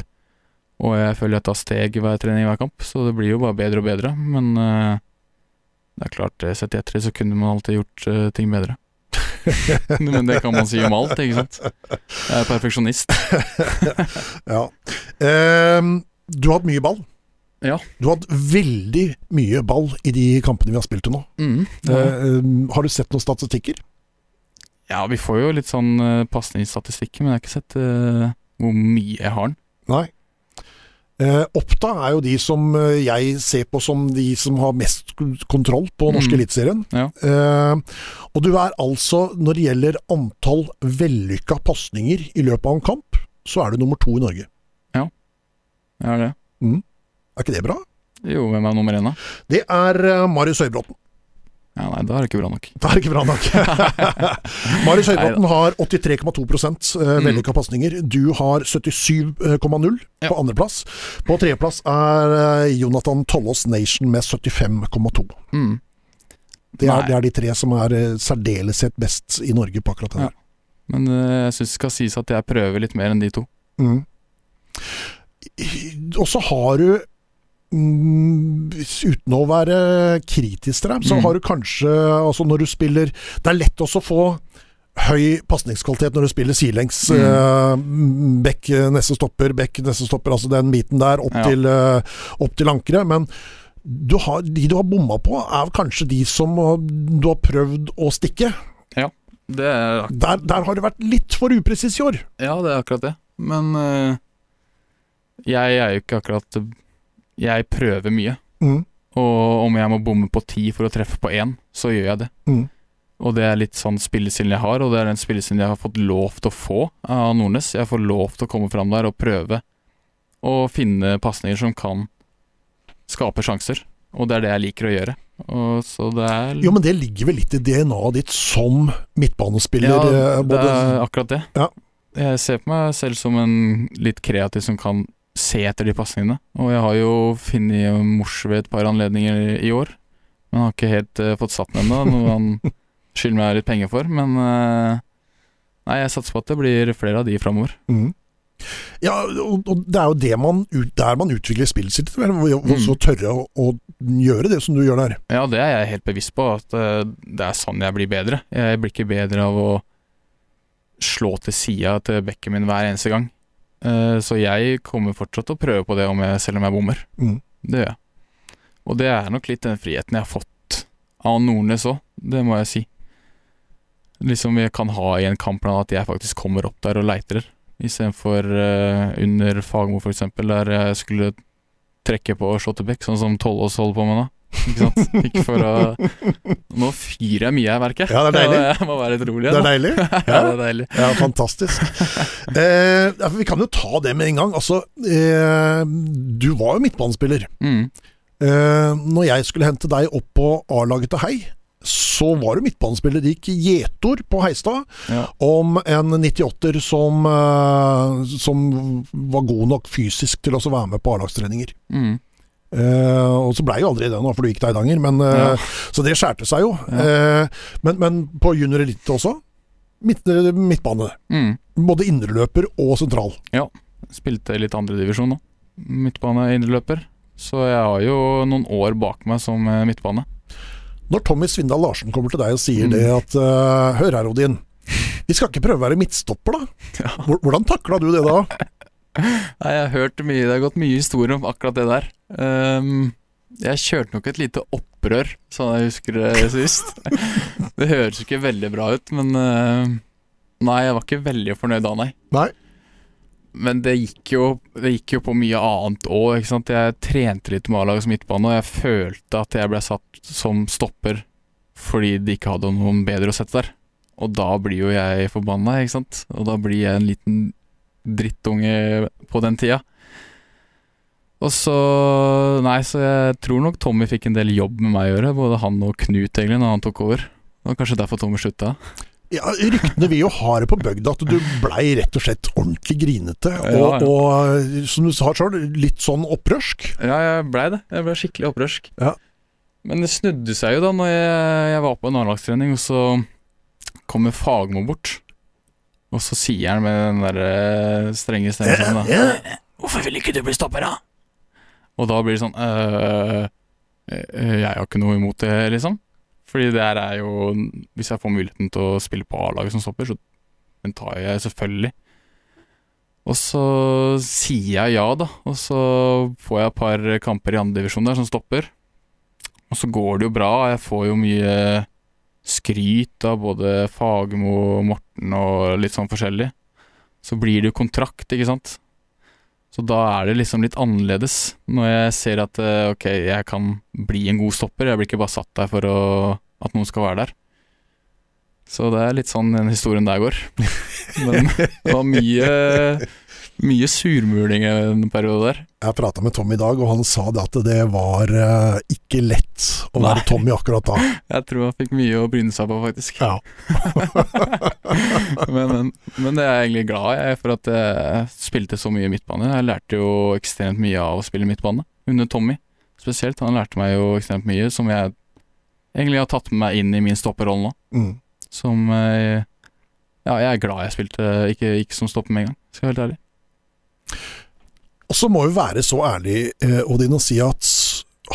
Og jeg føler jeg tar steg i hver trening, hver kamp, så det blir jo bare bedre og bedre. Men eh, det er klart, eh, sett i ettertid så kunne man alltid gjort eh, ting bedre. Men det kan man si om alt, ikke sant. Jeg er perfeksjonist. Ja. Ehm, du har hatt mye ball. Ja. Du har hatt veldig mye ball i de kampene vi har spilt til nå. Mm. Ehm, har du sett noen statistikker? Ja, vi får jo litt sånn uh, passende i statistikken, men jeg har ikke sett eh, hvor mye jeg har den. Nei. Eh, Oppda er jo de som eh, jeg ser på som de som har mest k- kontroll på norske Mm. eliteserien. Ja. Eh, og du er altså, når det gjelder antall vellykka pasninger i løpet av en kamp, så er du nummer to i Norge. Jeg har det. Er ikke det bra? Jo, hvem er nummer én, da? Det er eh, Marius Høybråten. Ja, nei, da er det ikke bra nok. Det er ikke bra nok. Marius Høybråten har 83,2 Mm. eh, vellykka pasninger. Du har 77,0 Ja. på andreplass. På tredjeplass er eh, Jonathan Tollås Nation med 75,2. Mm. Det er, Nei. det er de tre som er eh, særdeles sett best i Norge på akkurat det der. Men eh, jeg syns det skal sies at jeg prøver litt mer enn de to. Mm. I- Og så har du mm, Uten å være kritisk til dem, så Mm. har du kanskje altså Når du spiller Det er lett også å få høy pasningskvalitet når du spiller sidelengs. Mm. eh, Bekk, eh, neste stopper, bekk, neste stopper. Altså den biten der opp, Ja. til, eh, opp til ankeret. Men du har, de du har bomma på, er kanskje de som eh, du har prøvd å stikke. Det er Der, der har du vært litt for upresis i år. Ja, det er akkurat det. Men eh, jeg er jo ikke akkurat Jeg prøver mye. Mm. Og om jeg må bomme på ti for å treffe på én, så gjør jeg det. Mm. Og det er litt sånn spillestilen jeg har, og det er den spillestilen jeg har fått lov til å få av Nordnes. Jeg får lov til å komme fram der og prøve å finne pasninger som kan skape sjanser. Og det er det jeg liker å gjøre. Og så det er Jo, men det ligger vel litt i DNA-et ditt som midtbanespiller. Ja, eh, det både, er akkurat det. Ja. Jeg ser på meg selv som en litt kreativ som kan se etter de pasningene. Og jeg har jo funnet mors ved et par anledninger i år, men har ikke helt eh, fått satt den ennå, noe han skylder meg litt penger for. Men eh, nei, jeg satser på at det blir flere av de framover. Mm. Ja, og, og det er jo det man, ut- der man utvikler spillet sitt, vel, hvor hvor Mm. så tørre å, å gjøre det som du gjør der. Ja, det er jeg helt bevisst på, at eh, det er sånn jeg blir bedre. Jeg blir ikke bedre av å slå til sida til bekken min hver eneste gang. Eh, så jeg kommer fortsatt til å prøve på det om jeg, selv om jeg bommer. Mm. Det gjør jeg. Og det er nok litt den friheten jeg har fått av Nordnes òg, det må jeg si. Liksom vi kan ha i en kampplan at jeg faktisk kommer opp der og leiter, istedenfor uh, under Fagermo f.eks., der jeg skulle trekke på Shottebekk, sånn som Tollås holder på med nå. Ikke sant? Ikke for å Nå fyrer jeg mye her, merker jeg. Ja, det er deilig. Jeg må være litt rolig Det igjen. er deilig. da. Ja, det er deilig. Ja, fantastisk. eh, ja, for vi kan jo ta det med en gang. Altså, eh, du var jo midtbanespiller. Mm. Eh, når jeg skulle hente deg opp på A-laget til Hei, så var du midtbanespiller. Det gikk gjetord på Heistad. Ja. om en 98-er som, eh, som var god nok fysisk til å også være med på A-lagstreninger. Mm. Eh, og så blei jo aldri det nå, for du gikk til Eidanger, men, eh, Ja. så det skjærte seg jo. Ja. Eh, men, men på junior elite også? Midt, eh, midtbane. Mm. Både indreløper og sentral. Spilte litt andredivisjon nå. Midtbane indreløper. Så jeg har jo noen år bak meg som eh, midtbane. Når Tommy Svindal Larsen kommer til deg og sier Mm. det at eh, Hør her, Odin. Vi skal ikke prøve å være midtstopper, da? Ja. Hvor- Hvordan takla du det da? Nei, jeg har hørt mye, det har gått mye historier om akkurat det der. Ehm, jeg kjørte nok et lite opprør, sånn jeg husker det sist. det høres ikke veldig bra ut, men eh, Nei, jeg var ikke veldig fornøyd da, nei. Nei. Men det gikk jo, det gikk jo på mye annet òg, ikke sant. Jeg trente litt med A-lagets midtbane, og jeg følte at jeg ble satt som stopper fordi de ikke hadde noen bedre å sette der. Og da blir jo jeg forbanna, ikke sant. Og da blir jeg en liten drittunge på den tida. Og så Nei, så jeg tror nok Tommy fikk en del jobb med meg å gjøre. Både han og Knut, egentlig, når han tok over. Det var kanskje derfor Tommy slutta. Ja, Ryktene vil jo ha det på bygda at du blei rett og slett ordentlig grinete. Ja, Og, ja. og som du sa sjøl, litt sånn opprørsk. Ja, jeg blei det. Jeg ble skikkelig opprørsk. Ja. Men det snudde seg jo da når jeg, jeg var på en A-lagstrening, og så kommer Fagmo bort. Og så sier han med den der eh, strenge stemmen sånn, da Ja. Hvorfor vil ikke du bli stopper, da? øh, Og da blir det sånn øh, øh, Jeg har ikke noe imot det, liksom. Fordi det her er jo Hvis jeg får muligheten til å spille på A-laget som stopper, så den tar jeg selvfølgelig. Og så sier jeg ja, da. Og så får jeg et par kamper i andredivisjon der som stopper. Og så går det jo bra. Jeg får jo mye skryt av både Fagermo og Morten og litt sånn forskjellig. Så blir det jo kontrakt, ikke sant. Så da er det liksom litt annerledes når jeg ser at eh, ok, jeg kan bli en god stopper. Jeg blir ikke bare satt der for å, at noen skal være der. Så det er litt sånn den historien der går. Men det var mye, mye surmuling i en periode der. Jeg prata med Tom i dag, og han sa det at det var eh, ikke lett å Nei. være Tommy akkurat da. Jeg tror han fikk mye å bryne seg på, faktisk. Ja. men, men, men det er jeg egentlig glad i, for at jeg spilte så mye midtbane. Jeg lærte jo ekstremt mye av å spille midtbane, under Tommy spesielt. Han lærte meg jo ekstremt mye som jeg egentlig har tatt med meg inn i min stopperrolle nå. Mm. Som eh, Ja, jeg er glad jeg spilte, ikke, ikke som stopper med en gang, skal jeg være helt ærlig. Og så må vi være så ærlig, eh, Odin, og si at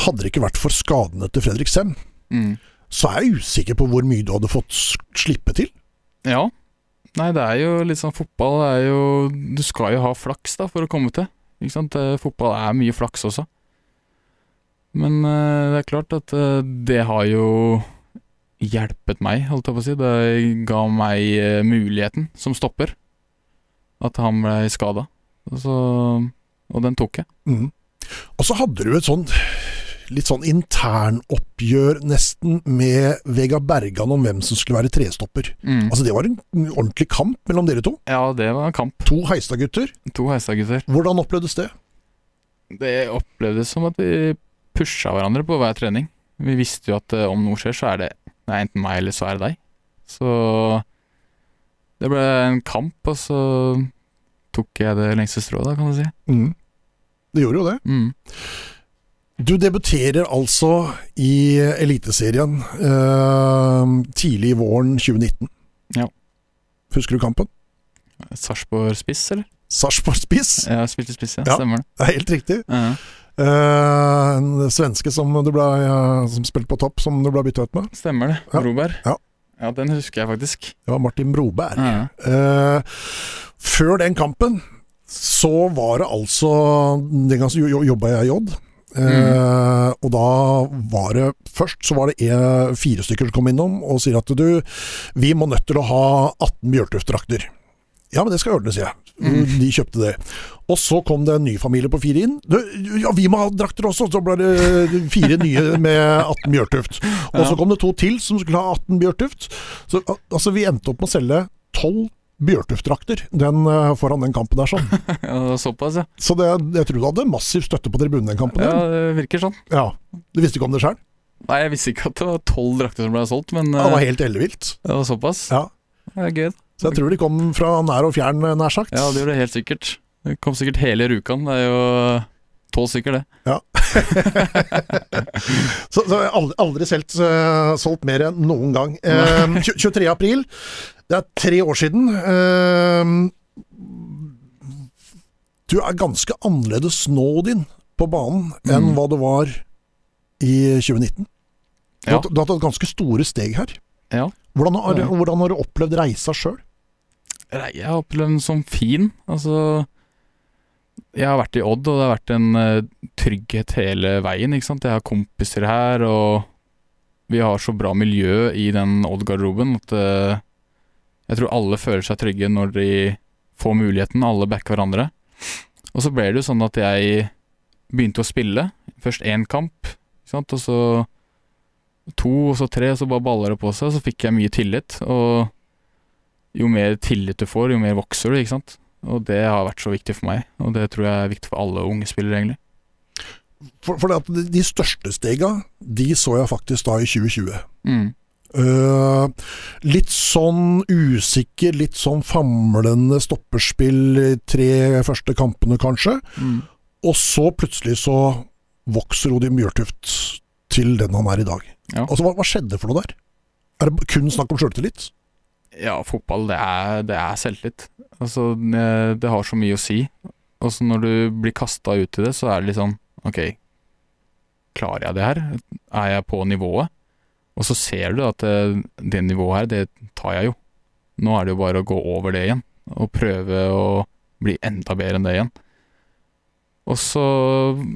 hadde det ikke vært for skadene til Fredrik Sem, Mm. så er jeg usikker på hvor mye du hadde fått s- slippe til. Ja. Nei, det er jo litt sånn fotball det er jo, Du skal jo ha flaks da for å komme til. Ikke sant? Eh, Fotball er mye flaks også. Men eh, det er klart at eh, det har jo hjulpet meg, holdt jeg på å si. Det ga meg eh, muligheten som stopper. At han ble skada. Og den tok jeg. Mm. Og så hadde du et sånn litt sånn internoppgjør nesten med Vegard Bergan om hvem som skulle være trestopper. Mm. Altså Det var en ordentlig kamp mellom dere to. Ja, det var en kamp. To Heistad-gutter. To heisa-gutter. Hvordan opplevdes det? Det opplevdes som at vi pusha hverandre på hver trening. Vi visste jo at eh, om noe skjer, så er det det er enten meg eller så er det deg. Så det ble en kamp, og så tok jeg det lengste strået, da, kan du si. Mm. Det gjorde jo det. Mm. Du debuterer altså i Eliteserien eh, tidlig i våren 2019. Ja. Husker du kampen? Sarpsborg spiss, eller? Sarpsborg spiss. Ja, Jeg spilte spiss, ja. Ja. Stemmer det. Det er helt riktig. Ja, Eh, en svenske som, du ble, eh, som spilte på topp, som du ble bytta ut med. stemmer det. Ja. Broberg. Ja. ja, den husker jeg faktisk. Det var Martin Broberg. Ja. Eh, før den kampen så var det altså Den gangen så jo- jobba jeg i J. Eh, Og da var det først så var det eh, fire stykker som kom innom og sier at du, vi må nødt til å ha 18 Bjørtuft-drakter. Ja, men det skal ordnes, sier jeg. Mm. De kjøpte det. Og så kom det en ny familie på fire inn. Du, ja, vi må ha drakter også! Så ble det fire nye med 18 Bjørtuft. Og så Ja. kom det to til som skulle ha 18 Bjørtuft. Så al- altså, vi endte opp med å selge 12 Bjørtuft-drakter den, eh, foran den kampen der, sånn. ja, det var såpass, ja. Så det, jeg tror du hadde massiv støtte på tribunen den kampen. ja. der. Det virker sånn. Ja. Du visste ikke om det sjøl? Nei, jeg visste ikke at det var tolv drakter som ble solgt, men Det var eh, helt ellevilt. det var såpass. Ja. Det er gøy. Så jeg tror de kom fra nær og fjern, eh, nær sagt. Ja, det gjør det helt sikkert. Det kom sikkert hele Rjukan. Det er jo tolv stykker, det. Så, så jeg har aldri, aldri solgt, eh, solgt mer enn noen gang. Eh, tj- 23. april, det er tre år siden. Eh, du er ganske annerledes nå, Odin, på banen enn Mm. hva du var i 2019. Du, Ja. har, du har tatt ganske store steg her. Ja. Hvordan har, Ja. hvordan har du opplevd reisa sjøl? Nei, jeg har opplevd den som fin. Altså Jeg har vært i Odd, og det har vært en eh, trygghet hele veien, ikke sant. Jeg har kompiser her, og vi har så bra miljø i den Odd-garderoben at eh, jeg tror alle føler seg trygge når de får muligheten. Alle backer hverandre. Og så ble det jo sånn at jeg begynte å spille. Først én kamp, ikke sant? og så to, og så tre, og så bare baller det på seg. Så fikk jeg mye tillit, og jo mer tillit du får, jo mer vokser du, ikke sant. Og det har vært så viktig for meg, og det tror jeg er viktig for alle unge spillere, egentlig. For, for det at de- de største stega, de så jeg faktisk da i 2020. Mm. Eh, litt sånn usikker, litt sånn famlende stopperspill i tre første kampene, kanskje. Mm. Og så plutselig så vokser Odin Bjørtuft til den han er i dag. Ja. Altså, hva, hva skjedde for noe der? Er det kun snakk om sjøltillit? Ja, fotball, det er, det er selvtillit. Altså, eh, det har så mye å si. Og så når du blir kasta ut i det, liksom, så er det litt sånn OK, klarer jeg det her? Er jeg på nivået? Og så ser du at eh, det nivået her, det tar jeg jo. Nå er det jo bare å gå over det igjen, og prøve å bli enda bedre enn det igjen. Og så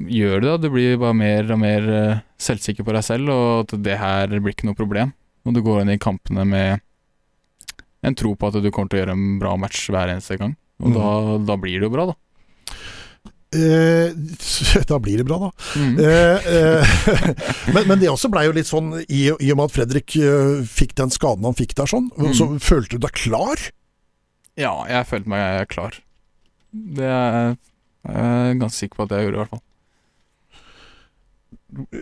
gjør du det, du blir bare mer og mer eh, selvsikker på deg selv, og at det her blir ikke noe problem. Og du går inn i kampene med en tro på at du kommer til å gjøre en bra match hver eneste gang. Og da, da blir det jo bra, da. Eh, da blir det bra, da. Mm. Eh, eh, men, men det også blei jo litt sånn, i, i og med at Fredrik eh, fikk den skaden han fikk der, sånn, Mm. så følte du deg klar? Ja, jeg følte meg klar. Det er jeg ganske sikker på at jeg gjorde, i hvert fall.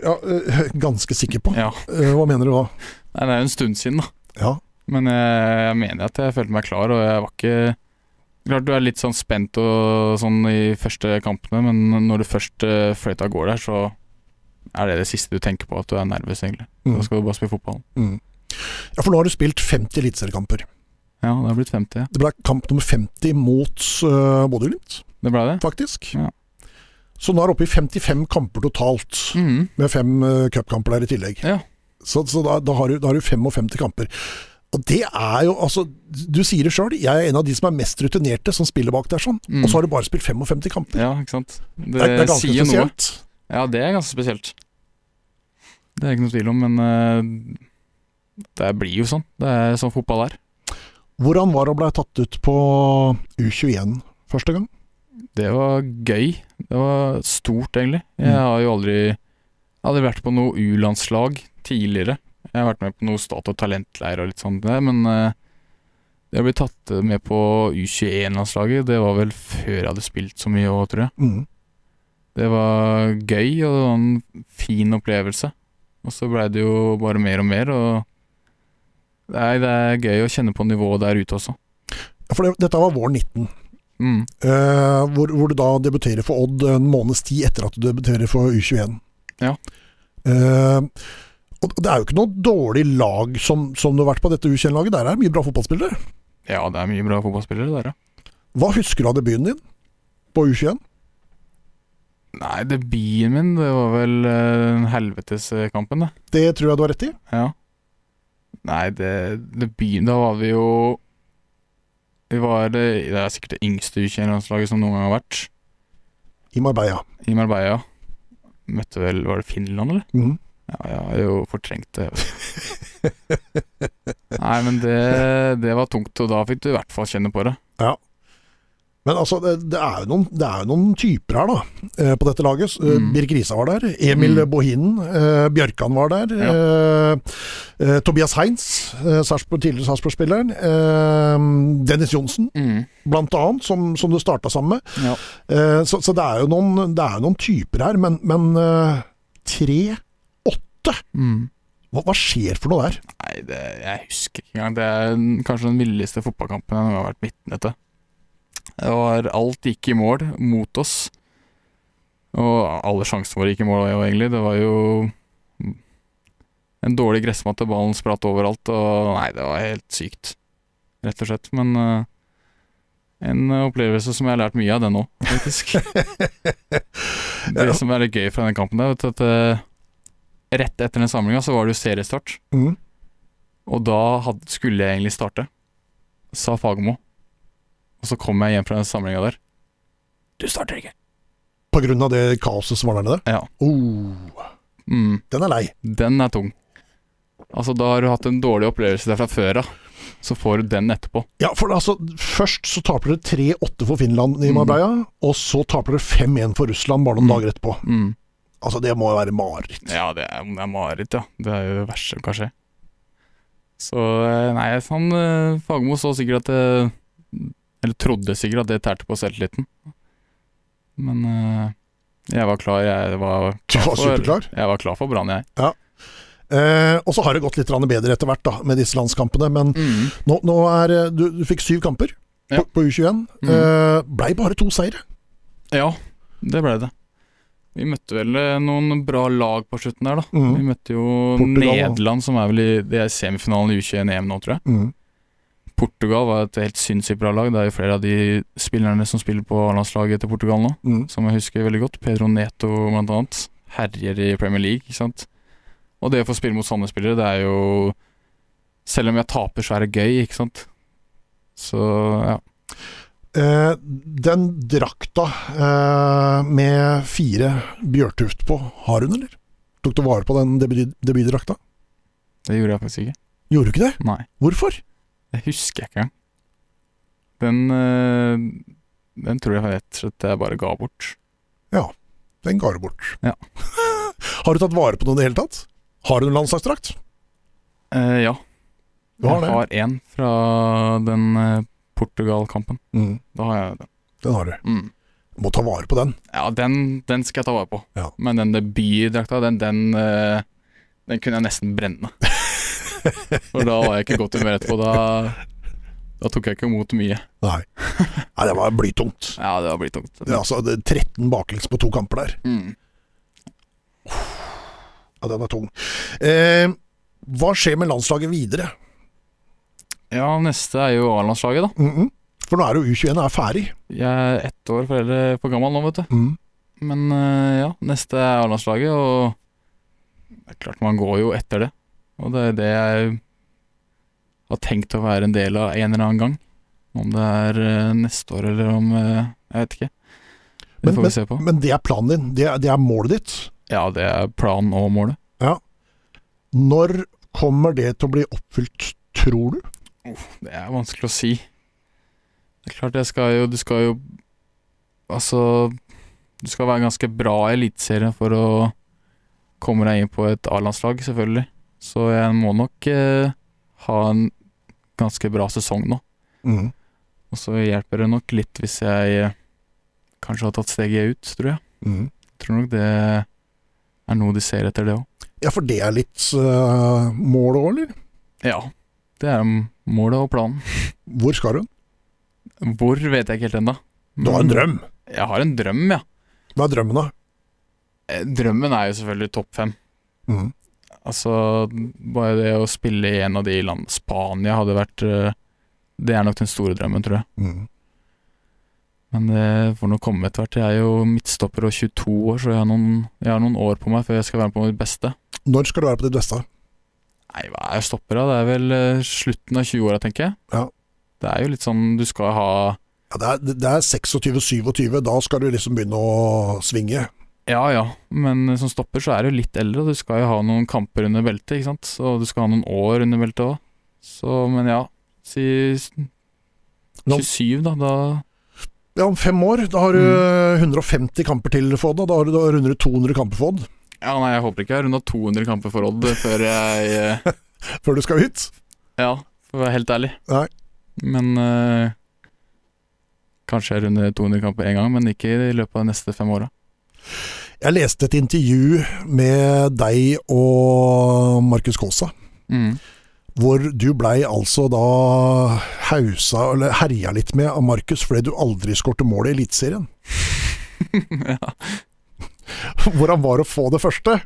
Ja, eh, ganske sikker på. Ja. Eh, hva mener du da? Nei, det er jo en stund siden, da. Ja. Men jeg, jeg mener at jeg følte meg klar, og jeg var ikke Klart du er litt sånn spent og sånn i første kampene, men når du først eh, fløyta går der, så er det det siste du tenker på, at du er nervøs, egentlig. Mm. Da skal du bare spille fotball. Mm. ja, for nå har du spilt 50 eliteseriekamper. Ja, det har blitt 50. Det ble kamp nummer 50 mot uh, Bodø-Glimt, Det blei det? faktisk. Ja. Så nå er det oppe i 55 kamper totalt, Mhm. med fem eh, cupkamper der i tillegg. Ja. Så, så da, da, har du, da har du 55 kamper. Og det er jo, altså, Du sier det sjøl, jeg er en av de som er mest rutinerte som spiller bak der sånn. Mm. Og så har du bare spilt 55 kamper. Ja, ikke sant. Det, Det, er- det er ganske sier noe. spesielt. Ja, det er ganske spesielt. Det er ikke noe tvil om, men eh, det blir jo sånn. Det er sånn fotball er. Hvordan var det å bli tatt ut på U21 første gang? Det var gøy. Det var stort, egentlig. Mm. Jeg har jo aldri jeg har aldri vært på noe U-landslag tidligere. Jeg har vært med på noe stat- og talentleir og litt sånt der, men eh, det å bli tatt med på U21-landslaget, det var vel før jeg hadde spilt så mye òg, tror jeg. Mm. Det var gøy, og det var en fin opplevelse. Og så blei det jo bare mer og mer, og Nei, det er gøy å kjenne på nivået der ute også. For det, dette var våren 19, Mm. eh, hvor, hvor du da debuterer for Odd en måneds tid etter at du debuterer for U21. Ja. Eh, og det er jo ikke noe dårlig lag som, som du har vært på dette U21-laget. Der er det mye bra fotballspillere. Ja, det er mye bra fotballspillere der, ja. Hva husker du av debuten din på U21? Nei, debuten min, det var vel uh, helveteskampen, det. Det tror jeg du har rett i. Ja. Nei, det debuten Da var vi jo Vi var eh, Det er sikkert det yngste U21-landslaget som noen gang har vært, I Marbella. i Marbella. Møtte vel Var det Finland, eller? Mhm. Ja, jeg har jo fortrengt det. Nei, men det, det var tungt, og da fikk du i hvert fall kjenne på det. Men altså, det, det, er jo noen, det er jo noen typer her, da, eh, på dette laget. S- eh, Mm. Birk Risa var der. Emil Mm. Bohinen. Eh, Bjørkan var der. Eh, eh, Tobias Heins, eh, Sarpsborg- tidligere Sarpsborg-spilleren. Eh, Dennis Johnsen, blant annet, som, som du starta sammen med. Ja. Eh, så så det, er jo noen, det er jo noen typer her, men, men eh, tre Åtte? Hva, hva skjer for noe der? Nei, det, jeg husker ikke engang. Det er den- kanskje den villeste fotballkampen jeg noen gang har vært midtene til. Det var, alt gikk i mål mot oss. Og alle sjansene våre gikk i mål, jo, egentlig. Det var jo en dårlig gressmatte, ballen spratt overalt, og nei, det var helt sykt, rett og slett. Men eh, en opplevelse som jeg har lært mye av, den òg, faktisk. Ja. Det som er litt gøy fra den kampen, der, vet du, at eh, rett etter den samlinga så var det jo seriestart. Mm. Og da had, skulle jeg egentlig starte, sa Fagermo. Og så kom jeg hjem fra den samlinga der. Du starter ikke! På grunn av det kaoset som var der nede? Ja. Oh, Mm, den er lei. den er tung. Altså, da har du hatt en dårlig opplevelse der fra før av. Så får du den etterpå. Ja, for altså, Først så taper dere 3-8 for Finland i Mm. Marbella, og så taper dere 5-1 for Russland bare noen Mm. dager etterpå. Mm. Altså, Det må jo være mareritt. Ja, det er, det er mareritt, ja. Det er jo det verste som kan skje. Så eh, nei, han eh, Fagermo så sikkert at det Eller trodde sikkert at det tærte på selvtilliten. Men eh, jeg var klar. Jeg var Du var for- superklar. Jeg var klar for Brann, jeg. Eh, og så har det gått litt grann bedre etter hvert da, med disse landskampene, men Mm. nå, nå er eh, Du, du fikk syv kamper Ja. på, på U21. Mm. Eh, Blei bare to seire. Ja, det ble det. Vi møtte vel eh, noen bra lag på slutten der, da. Mm. Vi møtte jo Portugal, da. Nederland, som er vel i det er semifinalen i U21-EM nå, tror jeg. Mm. Portugal var et helt sinnssykt bra lag. Det er jo flere av de spillerne som spiller på A-landslaget til Portugal nå, Mm. som jeg husker veldig godt. Pedro Neto, blant annet. Herjer i Premier League, ikke sant. Og det å få spille mot sånne spillere, det er jo Selv om jeg taper, så er det gøy, ikke sant? Så ja. Eh, den drakta eh, med fire Bjørtuft på, har hun, eller? Tok du vare på den debut- debutdrakta? Det gjorde jeg faktisk ikke. Gjorde du ikke det? Nei. Hvorfor? Det husker jeg ikke engang. Den eh, Den tror jeg rett og slett jeg bare ga bort. Den ga du bort. Ja. har du tatt vare på den i det hele tatt? Har du en landslagsdrakt? Eh, ja. Du har jeg det? har én fra den eh, Portugal-kampen. Mm, Da har jeg den. den har du. Mm. Må ta vare på den. Ja, den, den skal jeg ta vare på. Ja. Men den debutdrakta, den, den, eh, den kunne jeg nesten brenne. For da var jeg ikke i godt humør etterpå. Da, da tok jeg ikke imot mye. Nei. Nei, det var blytungt. Ja, det har blitt tungt. Det er altså det er 13 baklengs på to kamper der. Mm. Ja, den er tung. Eh, hva skjer med landslaget videre? Ja, neste er jo A-landslaget, da. Mhm. For nå er jo U21 er ferdig. Mm. Jeg er ett år foreldre for gammel nå, vet du. Men eh, ja, neste er A-landslaget, og det er klart man går jo etter det. Og det er det jeg har tenkt å være en del av en eller annen gang. Om det er eh, neste år eller om eh, Jeg vet ikke. Det Men- får vi se på. Men det er planen din. Det er, det er målet ditt. Ja, det er planen og målet. Når kommer det til å bli oppfylt, tror du? Det er vanskelig å si. Det er klart jeg skal jo Du skal jo Altså Du skal være ganske bra i Eliteserien for å komme deg inn på et A-landslag, selvfølgelig. Så jeg må nok eh, ha en ganske bra sesong nå. Mm. Og så hjelper det nok litt hvis jeg eh, kanskje har tatt steget ut, tror jeg. Tror nok det er noe de ser etter, det òg. Ja, for det er litt uh, målet òg, eller? Ja. Det er målet og planen. Hvor skal hun? Hvor vet jeg ikke helt ennå. Du Mm. har en drøm. Jeg har en drøm, ja. Hva er drømmen, da? Eh, Drømmen er jo selvfølgelig topp fem. Mhm. Altså, bare det å spille i en av de landene Spania hadde vært eh, Det er nok den store drømmen, tror jeg. Mhm. Men det får nå komme etter hvert. Jeg er jo midtstopper og 22 år, så jeg har, noen, jeg har noen år på meg før jeg skal være på mitt beste. Når skal du være på ditt beste? Nei, hva er stopper, da? Det er vel eh, slutten av 20-åra, tenker jeg. Ja. Det er jo litt sånn Du skal ha Ja, det er, det er 26-27, da skal du liksom begynne å svinge. Ja ja, men eh, som stopper så er du litt eldre, og du skal jo ha noen kamper under beltet, ikke sant. Og du skal ha noen år under beltet òg. Så, men ja. Si s- Nå- 27, da. Da Ja, om fem år, da har du 150 kamper til, Fodd. og Da har du da runder du 200 kamper, Fodd, Ja, nei, jeg håper ikke jeg har runda 200 kamper for Odd før jeg eh, før du skal ut. Ja, for å være helt ærlig. Nei. Men eh, Kanskje jeg runder 200 kamper én gang, men ikke i løpet av de neste fem åra. Jeg leste et intervju med deg og Markus Kaasa, Mm. hvor du blei altså da hausa, eller herja litt med av Markus fordi du aldri skårte mål i Eliteserien. ja, Hvordan var det å få det første?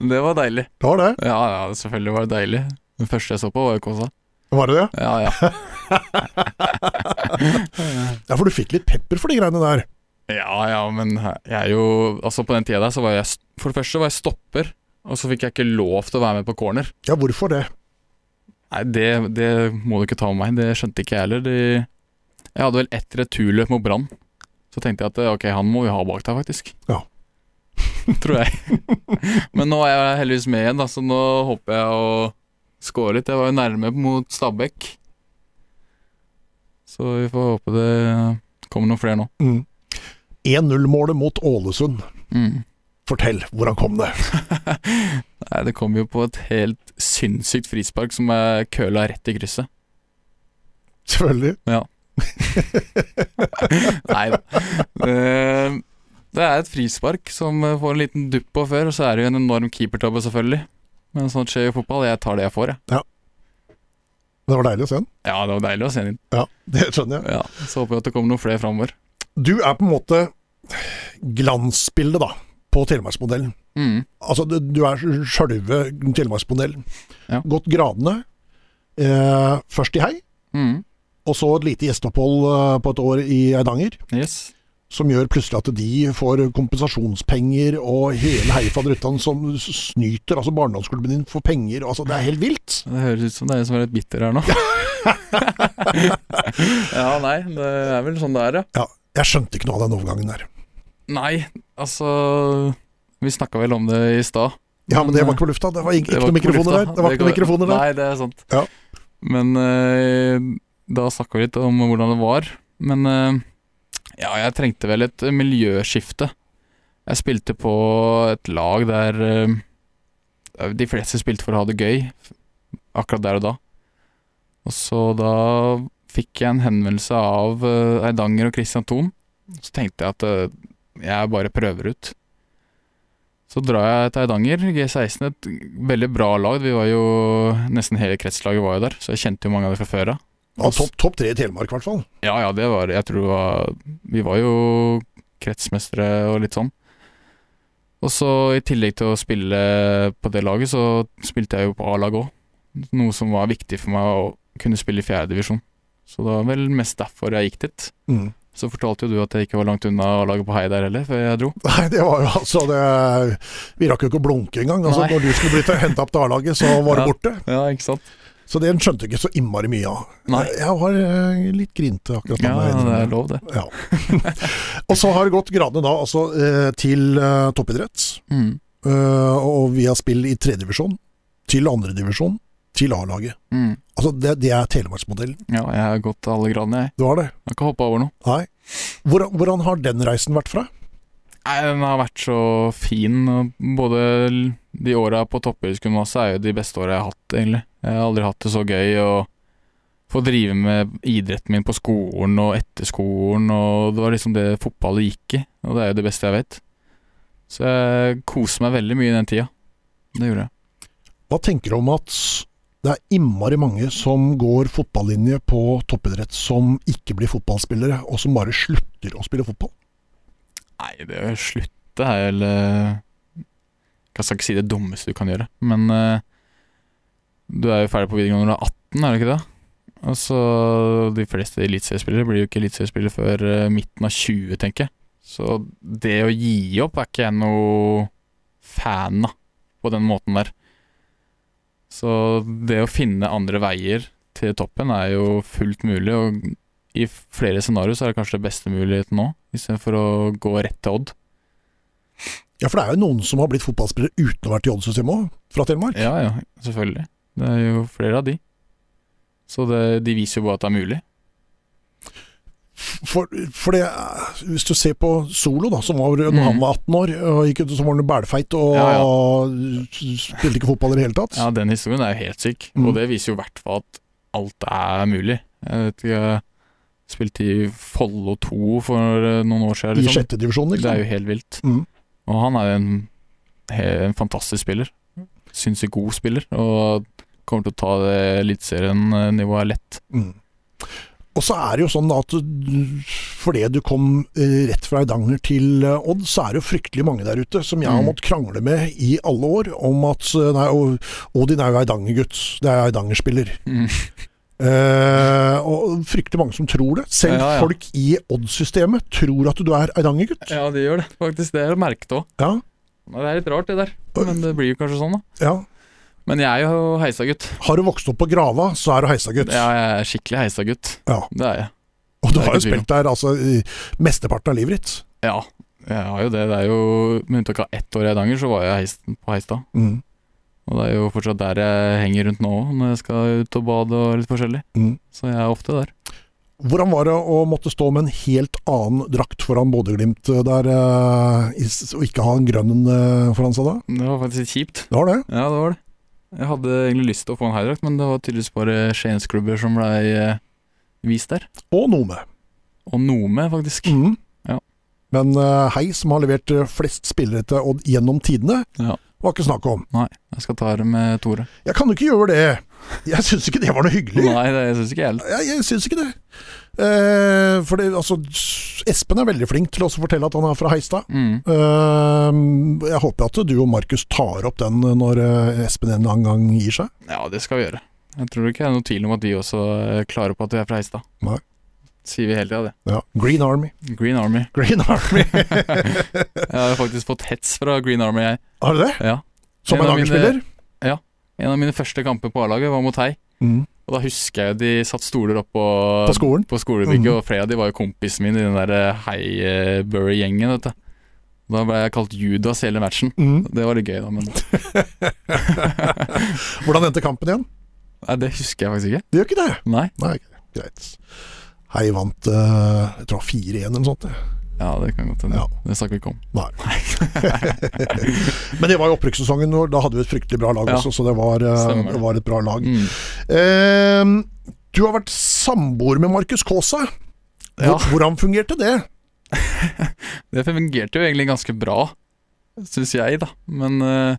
det var deilig. Det var det. Ja, ja, selvfølgelig var det deilig. Det første jeg så på, var jo Kåsa. Var det det? Ja, ja. Ja, for du fikk litt pepper for de greiene der. Ja, ja, men jeg er jo Altså, på den tida der så var jeg st- For det første var jeg stopper, og så fikk jeg ikke lov til å være med på corner. Ja, hvorfor det? Nei, det, det må du ikke ta med meg. Det skjønte ikke jeg heller. De, jeg hadde vel ett returløp mot Brann. Så tenkte jeg at eh, ok, han må vi ha bak der, faktisk. Ja. Tror jeg. Men nå er jeg heldigvis med igjen, da, så nå håper jeg å score litt. Jeg var jo nærme mot Stabæk. Så vi får håpe det kommer noen flere nå. Mm. 1-0-målet mot Ålesund. Mm. Fortell, hvordan kom det? Nei, det kom jo på et helt sinnssykt frispark som er køla rett i krysset. Selvfølgelig. Nei da. Eh, Det er et frispark som eh, får en liten dupp på før, og så er det jo en enorm keepertabbe, selvfølgelig. Men sånt skjer jo i fotball. Jeg tar det jeg får, jeg. Det var deilig å se den. Ja, det var deilig å se den inn. Ja, det skjønner jeg. Ja, så håper jeg at det kommer noen flere framover. Du er på en måte glansbildet da, på Telemarksmodellen. Mm. Altså, du du er sjølve Telemarksmodellen. Ja. Gått gradene. Eh, først i Hei, Mm. og så et lite gjesteopphold eh, på et år i Eidanger. Yes. som gjør plutselig at de får kompensasjonspenger og hele heifaderuttan som snyter altså barndomsklubben din for penger. Altså, det er helt vilt! Det høres ut som det er en som er litt bitter her nå. ja, nei, det er vel sånn det er, ja. Ja, jeg skjønte ikke noe av den overgangen der. Nei, altså Vi snakka vel om det i stad. Ja, men det var ikke på lufta. Det var ikke, ikke Det var noen på mikrofoner lufta. der. Det var ikke noen mikrofoner der. Nei, det er sant. Ja. Men eh, da snakka vi litt om hvordan det var. Men eh, ja, jeg trengte vel et miljøskifte. Jeg spilte på et lag der eh, de fleste spilte for å ha det gøy, akkurat der og da. Og så da fikk jeg en henvendelse av eh, Eidanger og Christian Thon. Så tenkte jeg at eh, jeg bare prøver ut. Så drar jeg til Eidanger, G16, et veldig bra lag. Vi var jo, Nesten hele kretslaget var jo der, så jeg kjente jo mange av dem fra før av. Ja, topp topp tre i Telemark, i hvert fall. Ja, ja, det var Jeg tror det var Vi var jo kretsmestere og litt sånn. Og så i tillegg til å spille på det laget, så spilte jeg jo på A-lag òg. Noe som var viktig for meg å kunne spille i fjerdedivisjon. Så det var vel mest derfor jeg gikk dit. Mm. Så fortalte jo du at jeg ikke var langt unna A-laget på Hei der heller, før jeg dro. Nei, det var jo altså det, Vi rakk jo ikke å blunke engang. Altså, Nei. når du skulle bli henta opp til A-laget, så var det Ja. borte. Ja, ikke sant? Så det skjønte jeg ikke så innmari mye av. Nei. Jeg har eh, litt grinte akkurat Ja, det nå. er lov, det. Ja. og så har det gått gradene da altså eh, til eh, toppidrett, Mm. eh, og via spill i tredjedivisjon, til andredivisjon, til A-laget. Mm. Altså det, det er telemarksmodellen. Ja, jeg har gått alle gradene, jeg. Du har det? Jeg har ikke hoppa over noe. Nei. Hvordan, hvordan har den reisen vært fra? Nei, den har vært så fin. og Både l- de åra på toppidrettsgymnaset er jo de beste åra jeg har hatt, egentlig. Jeg har aldri hatt det så gøy å få drive med idretten min på skolen og etter skolen, og det var liksom det fotballet gikk i, og det er jo det beste jeg vet. Så jeg koser meg veldig mye i den tida. Det gjorde jeg. Hva tenker du om at det er innmari mange som går fotballinje på toppidrett, som ikke blir fotballspillere, og som bare slutter å spille fotball? Nei, det å slutte er vel eh, Jeg skal ikke si det dummeste du kan gjøre, men eh, du er jo ferdig på videregående når du er 18, er du ikke det? Og så De fleste eliteseriespillere blir jo ikke eliteseriespillere før eh, midten av 20, tenker jeg. Så det å gi opp er ikke jeg noe fan av, på den måten der. Så det å finne andre veier til toppen er jo fullt mulig, og i flere scenarioer så er det kanskje det beste muligheten nå, istedenfor å gå rett til Odd. Ja, for det er jo noen som har blitt fotballspillere uten å ha vært i Odd-systemet òg, fra Telemark. Ja, ja, selvfølgelig. Det er jo flere av de. Så det, de viser jo bare at det er mulig. For, for det, er- hvis du ser på Solo, da, som var når han Mm. var 18 år, og gikk ut, så var han jo bælfeit og Ja, spilte ikke fotball i det hele tatt. Ja, den historien er jo helt syk, Mm. og det viser jo i hvert fall at alt er mulig. Jeg vet ikke Jeg spilte i Follo 2 for eh, noen år siden. I Liksom. sjette divisjon, Det er liksom. jo helt vilt. Mm. Og han er jo en, he- en fantastisk spiller. Sinnssykt god spiller, og kommer til å ta det eh, eliteseriennivået lett. Mm. Og så er det jo sånn at du- fordi du kom eh, rett fra Eidanger til eh, Odd, så er det jo fryktelig mange der ute som jeg har Mm. måttet krangle med i alle år, om at eh, Nei, og- Odin er jo Eidanger-gutt. Det er Eidanger-spiller. Mm. Eh, og fryktelig mange som tror det. Selv Ja, ja. folk i Odd-systemet tror at du er Eidanger-gutt. Ja, det gjør det, faktisk. Det er merket òg. Ja. Det er litt rart, det der. Men det blir jo kanskje sånn, da. ja. Men jeg er jo heisagutt. Har du vokst opp på Grava, så er du Heistad-gutt. Ja, jeg er skikkelig heisagutt. Ja. Det er jeg. Og du det er har jo ikke tvil om. spilt der altså, i mesteparten av livet ditt. Ja, jeg har jo det. Det er jo Med unntak av ett år i Eidanger, så var jeg heis, på Heistad. Mm. Og det er jo fortsatt der jeg henger rundt nå òg, når jeg skal ut og bade og litt forskjellig. Mm. Så jeg er ofte der. Hvordan var det å måtte stå med en helt annen drakt foran Bodø-Glimt eh, der, eh, i s- og ikke ha en grønn eh, foran seg da? Det var faktisk litt kjipt. Det var det. Ja, det var det. Jeg hadde egentlig lyst til å få en heidrakt, men det var tydeligvis bare Shanes-klubber som blei eh, vist der. Og Nome. Og Nome, faktisk. Mm. Ja. Men eh, Hei, som har levert eh, flest spillere til Odd gjennom tidene, Ja. var ikke snakk om. Jeg skal ta det med Tore. Jeg kan jo ikke gjøre det. Jeg syns ikke det var noe hyggelig. Nei, det syns ikke jeg heller. Jeg, jeg syns ikke det. Eh, for det, altså, Espen er veldig flink til å også fortelle at han er fra Heistad. Mm. Eh, jeg håper at du og Markus tar opp den når eh, Espen en eller annen gang gir seg. eh, Ja, det skal vi gjøre. Jeg tror ikke det er noe tvil om at vi også er klare på at vi er fra Heistad. Nei. sier vi hele tida, det. Ja. Green Army. Green Army. Green Army. Jeg har faktisk fått hets fra Green Army, jeg. Har du det? Ja. Som en En av mine- angerspiller? En av mine første kamper på A-laget var mot Hei. Mm. Og da husker jeg de satt stoler opp på, På skolen? på skolebygget, Mhm. og flere av de var jo kompisen min i den der eh, Heibury-gjengen, vet du. Da ble jeg kalt Judas hele matchen. Mm. Det var litt gøy, da, men Hvordan endte kampen igjen? Nei, det husker jeg faktisk ikke. Det gjør ikke det. Nei. Nei, greit. Hei vant eh, Jeg tror det var 4-1 eller noe sånt. det. Ja, det kan godt hende. Ja. Det snakker vi ikke om. Men det var jo opprykkssesongen, og da hadde vi et fryktelig bra lag Ja. også, så det var, eh, Stemmer. det var et bra lag. Mm. Eh, du har vært samboer med Markus Kaasa. Hvor, Ja. Hvordan fungerte det? Det fungerte jo egentlig ganske bra, syns jeg, da. Men eh,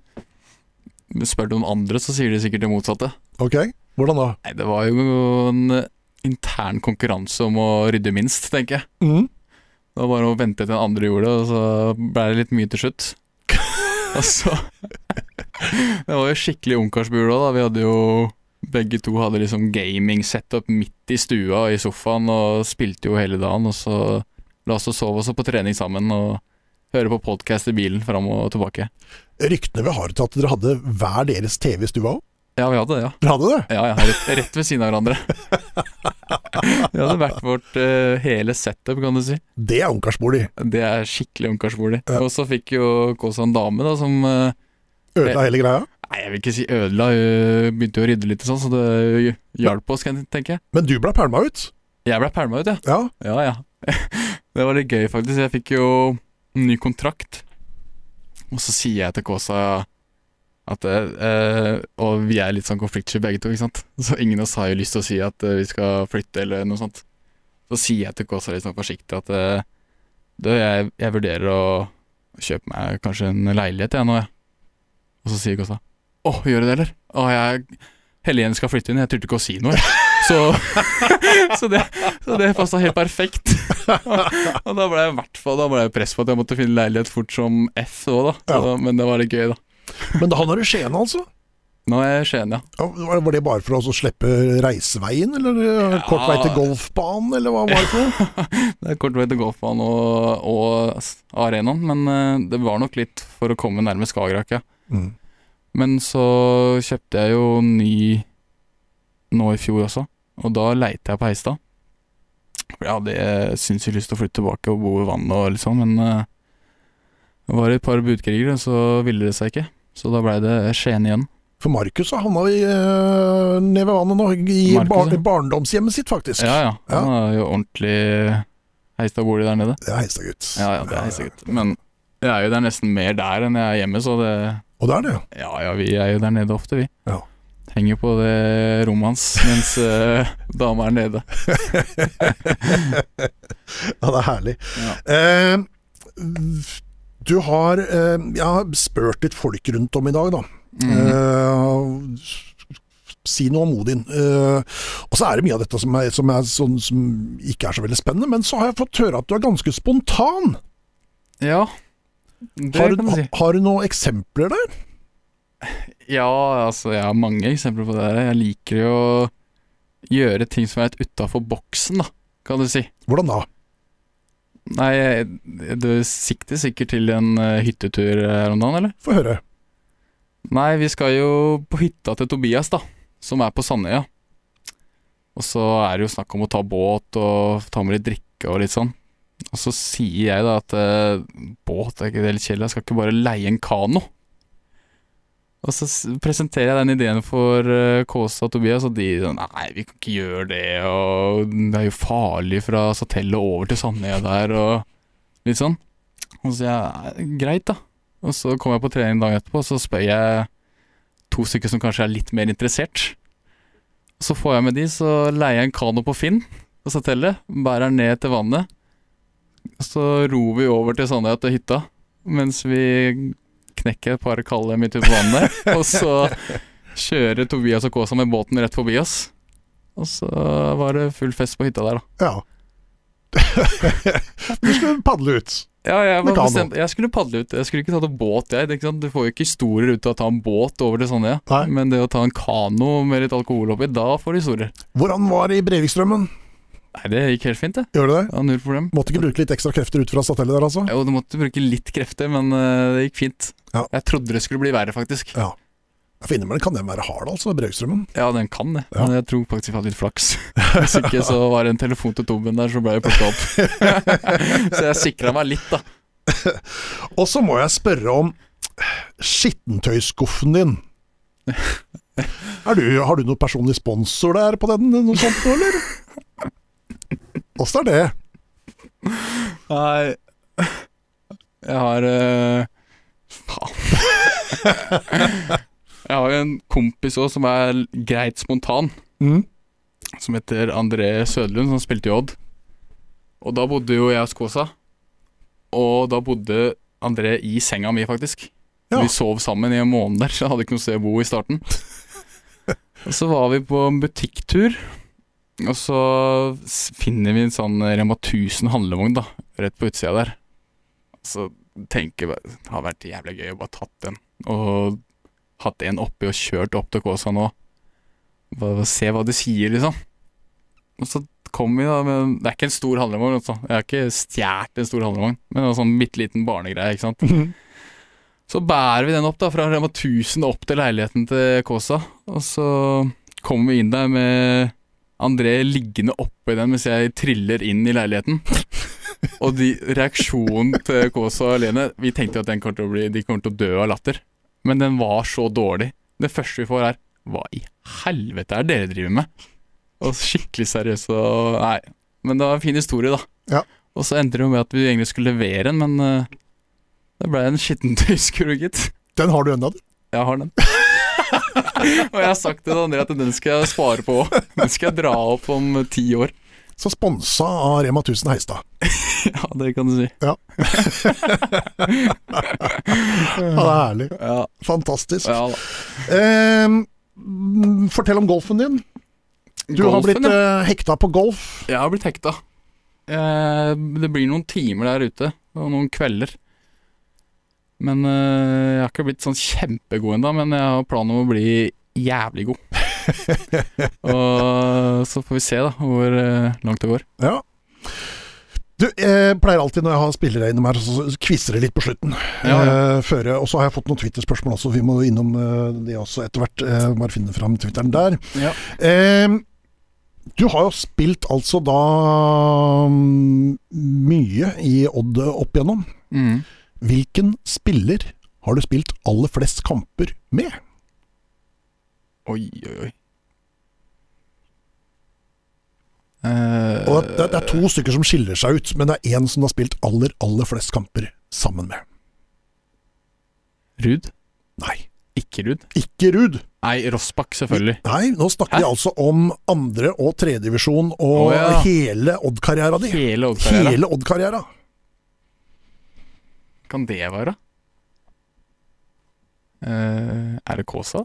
spør du om andre, så sier de sikkert det motsatte. Ok, Hvordan da? Nei, det var jo en intern konkurranse om å rydde minst, tenker jeg. Mm. Det var bare å vente til den andre gjorde det, og så ble det litt mye til slutt. Og så Det var jo skikkelig ungkarsbule òg, da. Vi hadde jo Begge to hadde liksom gaming-setup midt i stua og i sofaen og spilte jo hele dagen. Og så la oss og sove også på trening sammen og høre på podkast i bilen fram og tilbake. Ryktene vi har til at dere hadde hver deres TV i stua òg? Ja, vi hadde det, ja. Dere hadde det? Ja, ja, rett, rett ved siden av hverandre. Det hadde vært vårt eh, hele setup, kan du si. Det er ungkarsbolig. Det er skikkelig ungkarsbolig. Ja. Og så fikk jo Kåsa en dame da som eh, Ødela hele greia. Nei, jeg vil ikke si ødela. Hun begynte jo å rydde litt og sånn, så det hjalp oss, kan jeg tenke. Men du ble pælma ut. Jeg ble pælma ut, ja. Ja. Ja, ja. Det var litt gøy, faktisk. Jeg fikk jo en ny kontrakt. Og så sier jeg til Kåsa at eh, Og vi er litt sånn konfliktsky begge to, ikke sant. Så ingen av oss har jo lyst til å si at eh, vi skal flytte eller noe sånt. Så sier jeg til Kåsa litt sånn forsiktig at eh, du, jeg, jeg vurderer å kjøpe meg kanskje en leilighet jeg nå, jeg. Og så sier Kåsa Å, gjør du det, eller? Å, jeg Helene skal flytte inn, jeg turte ikke å si noe. jeg.» Så, så det, så det passa helt perfekt. Og da ble jeg i hvert fall Da ble jeg press på at jeg måtte finne leilighet fort som F òg, da. Så, Ja. Men det var litt gøy, da. Men han er i Skien, altså? Nå er jeg i Skien, ja. Ja, var var det bare for å slippe reiseveien, eller eh, kort vei til golfbanen, eller hva var det for noe? Det er kort vei til golfbanen og, og s- arenaen, men eh, det var nok litt for å komme nærme Skagerrak, ja. Mm. Men så kjøpte jeg jo ny nå i fjor også, og da leite jeg på Heistad. For jeg hadde sinnssykt lyst til å flytte tilbake og bo ved vannet og litt sånn, men eh, det var et par budkrigere, så ville det seg ikke. Så da blei det Skien igjen. For Markus har havna i, eh, ned ved vannet nå, i Markus, bar ja. barndomshjemmet sitt, faktisk. Ja ja, han er jo ordentlig Heistad-bolig der nede. Det er Heistadgutt. Ja ja, det er Heistad-gutt. Men jeg er jo der nesten mer der enn jeg er hjemme, så det Og det er det. Ja ja, vi er jo der nede ofte, vi. Ja. Henger på det rommet hans mens eh, dama er nede. Ja, det er herlig. Ja. Eh, du har eh, Jeg har spurt litt folk rundt om i dag, da. Mm. Mhm. Eh, si noe om Odin. Eh, og så er det mye av dette som, er, som, er sånn, som ikke er så veldig spennende, men så har jeg fått høre at du er ganske spontan. Ja, det Har, kan du, du si. har du noen eksempler der? Ja, altså, jeg har mange eksempler på det. her. Jeg liker jo å gjøre ting som er litt utafor boksen, da, kan du si. Hvordan da? Nei, jeg- du sikter sikkert til en eh, hyttetur her om dagen, eller? Få høre. Nei, vi skal jo på hytta til Tobias, da, som er på Sandøya. Og så er det jo snakk om å ta båt og ta med litt drikke og litt sånn. Og så sier jeg da at eh, båt er ikke det litt kjedelig, jeg skal ikke bare leie en kano. Og så s- presenterer jeg den ideen for eh, Kåsa og Tobias, og de sånn Nei, vi kan ikke gjøre det, og det er jo farlig fra Satellet over til Sandøya der, og litt sånn. Og så sier jeg «Nei, greit, da. Og så kom jeg på trening dagen etterpå, og så spør jeg to stykker som kanskje er litt mer interessert. Så får jeg med de, så leier jeg en kano på Finn på satellet, bærer den ned til vannet. Så ror vi over til Sandøya til hytta, mens vi knekker et par kalde midt ute på vannet. Og så kjører Tobias og Kåsa med båten rett forbi oss. Og så var det full fest på hytta der, da. Ja. du skulle padle ut. Ja, jeg, Med var kano. bestemt, jeg skulle padle ut. Jeg skulle ikke tatt en båt, jeg. Ikke sant? Du får jo ikke historier ut av å ta en båt over til Sandøya. Nei. Men det å ta en kano med litt alkohol oppi, da får du historier. Hvordan var det i Brevikstrømmen? Nei, det gikk helt fint, det. Gjør du det? Ja, null problem. Måtte ikke bruke litt ekstra krefter ut fra satellet der, altså? Jo, du måtte bruke litt krefter, men eh, det gikk fint. Ja. Jeg trodde det skulle bli verre, faktisk. Ja. For innimellom kan den være hard, altså, Braukstrømmen. Ja, den kan det, Ja. men jeg tror faktisk jeg hadde litt flaks. Hvis ikke så var det en telefon til Toben der, så ble jeg plukka opp. så jeg sikra meg litt, da. Og så må jeg spørre om skittentøyskuffen din. Er du, har du noen personlig sponsor der på den, noe sånt nå, eller? Åssen er det? Nei Jeg har eh, Faen. jeg har jo en kompis òg som er l- greit spontan, Mm. som heter André Sødlund, som spilte i Odd. Og da bodde jo jeg hos Kåsa. Og da bodde André i senga mi, faktisk. Ja. Vi sov sammen i en måned der, så jeg hadde ikke noe sted å bo i starten. Og så var vi på en butikktur, og så s- finner vi en sånn Rema 1000 handlevogn, da, rett på utsida der. Så tenker jeg bare, det har vært jævlig gøy å bare tatt den, og hatt en oppi og kjørt opp til Kåsa nå. Bare se hva de sier, liksom. Og så kom vi da med Det er ikke en stor handlevogn, altså. Jeg har ikke stjålet en stor handlevogn, men det var sånn bitte liten barnegreie, ikke sant. Så bærer vi den opp da, fra Rema 1000 opp til leiligheten til Kåsa. Og så kommer vi inn der med André liggende oppå i den mens jeg triller inn i leiligheten. Og de, reaksjonen til Kåsa og Lene Vi tenkte jo at den kommer til å bli, de kommer til å dø av latter. Men den var så dårlig. Det første vi får, er Hva i helvete er det dere driver med? Og skikkelig seriøs og Nei. Men det var en fin historie, da. Ja. Og så endte det jo med at vi egentlig skulle levere den, men eh, det ble en skittentøyskurve, gitt. Den har du ennå, du. Jeg har den. og jeg har sagt til André at den skal jeg spare på òg. Den skal jeg dra opp om ti år. Så sponsa av Rema 1000 Heistad. Ja, det kan du si. Ja, det er herlig. Ja, Fantastisk. ja da. Ehm, mm, fortell om golfen din. Du har Golfen, blitt ja. eh, hekta på golf. Jeg har blitt hekta. Eh, Det blir noen timer der ute, og noen kvelder. Men eh, jeg har ikke blitt sånn kjempegod ennå, men jeg har planen om å bli jævlig god. og så får vi se da hvor eh, langt det går. Ja. Du, jeg pleier alltid når jeg har spillere innom her, så kvisser det litt på slutten. Ja, Eh, før jeg- og så har jeg fått noen Twitter-spørsmål også, vi må innom eh, det også etter hvert. Eh, bare finne fram Twitteren der. Ja. Ehm, du har jo spilt altså da mm, mye i Odd opp igjennom. Mm. Hvilken spiller har du spilt aller flest kamper med? Oi, oi, oi. Eh, Og det, det er to stykker som skiller seg ut, men det er én som du har spilt aller, aller flest kamper sammen med. Ruud? Nei, Ikke Ruud? ikke Ruud. Nei, Rossbakk, selvfølgelig. Nei, nå snakker vi altså om andre- og tredjedivisjon og Å, ja. hele Odd-karriera di. Hele Odd-karrieren. Hele Odd-karriera. Kan det være? Eh, er det Kåsa?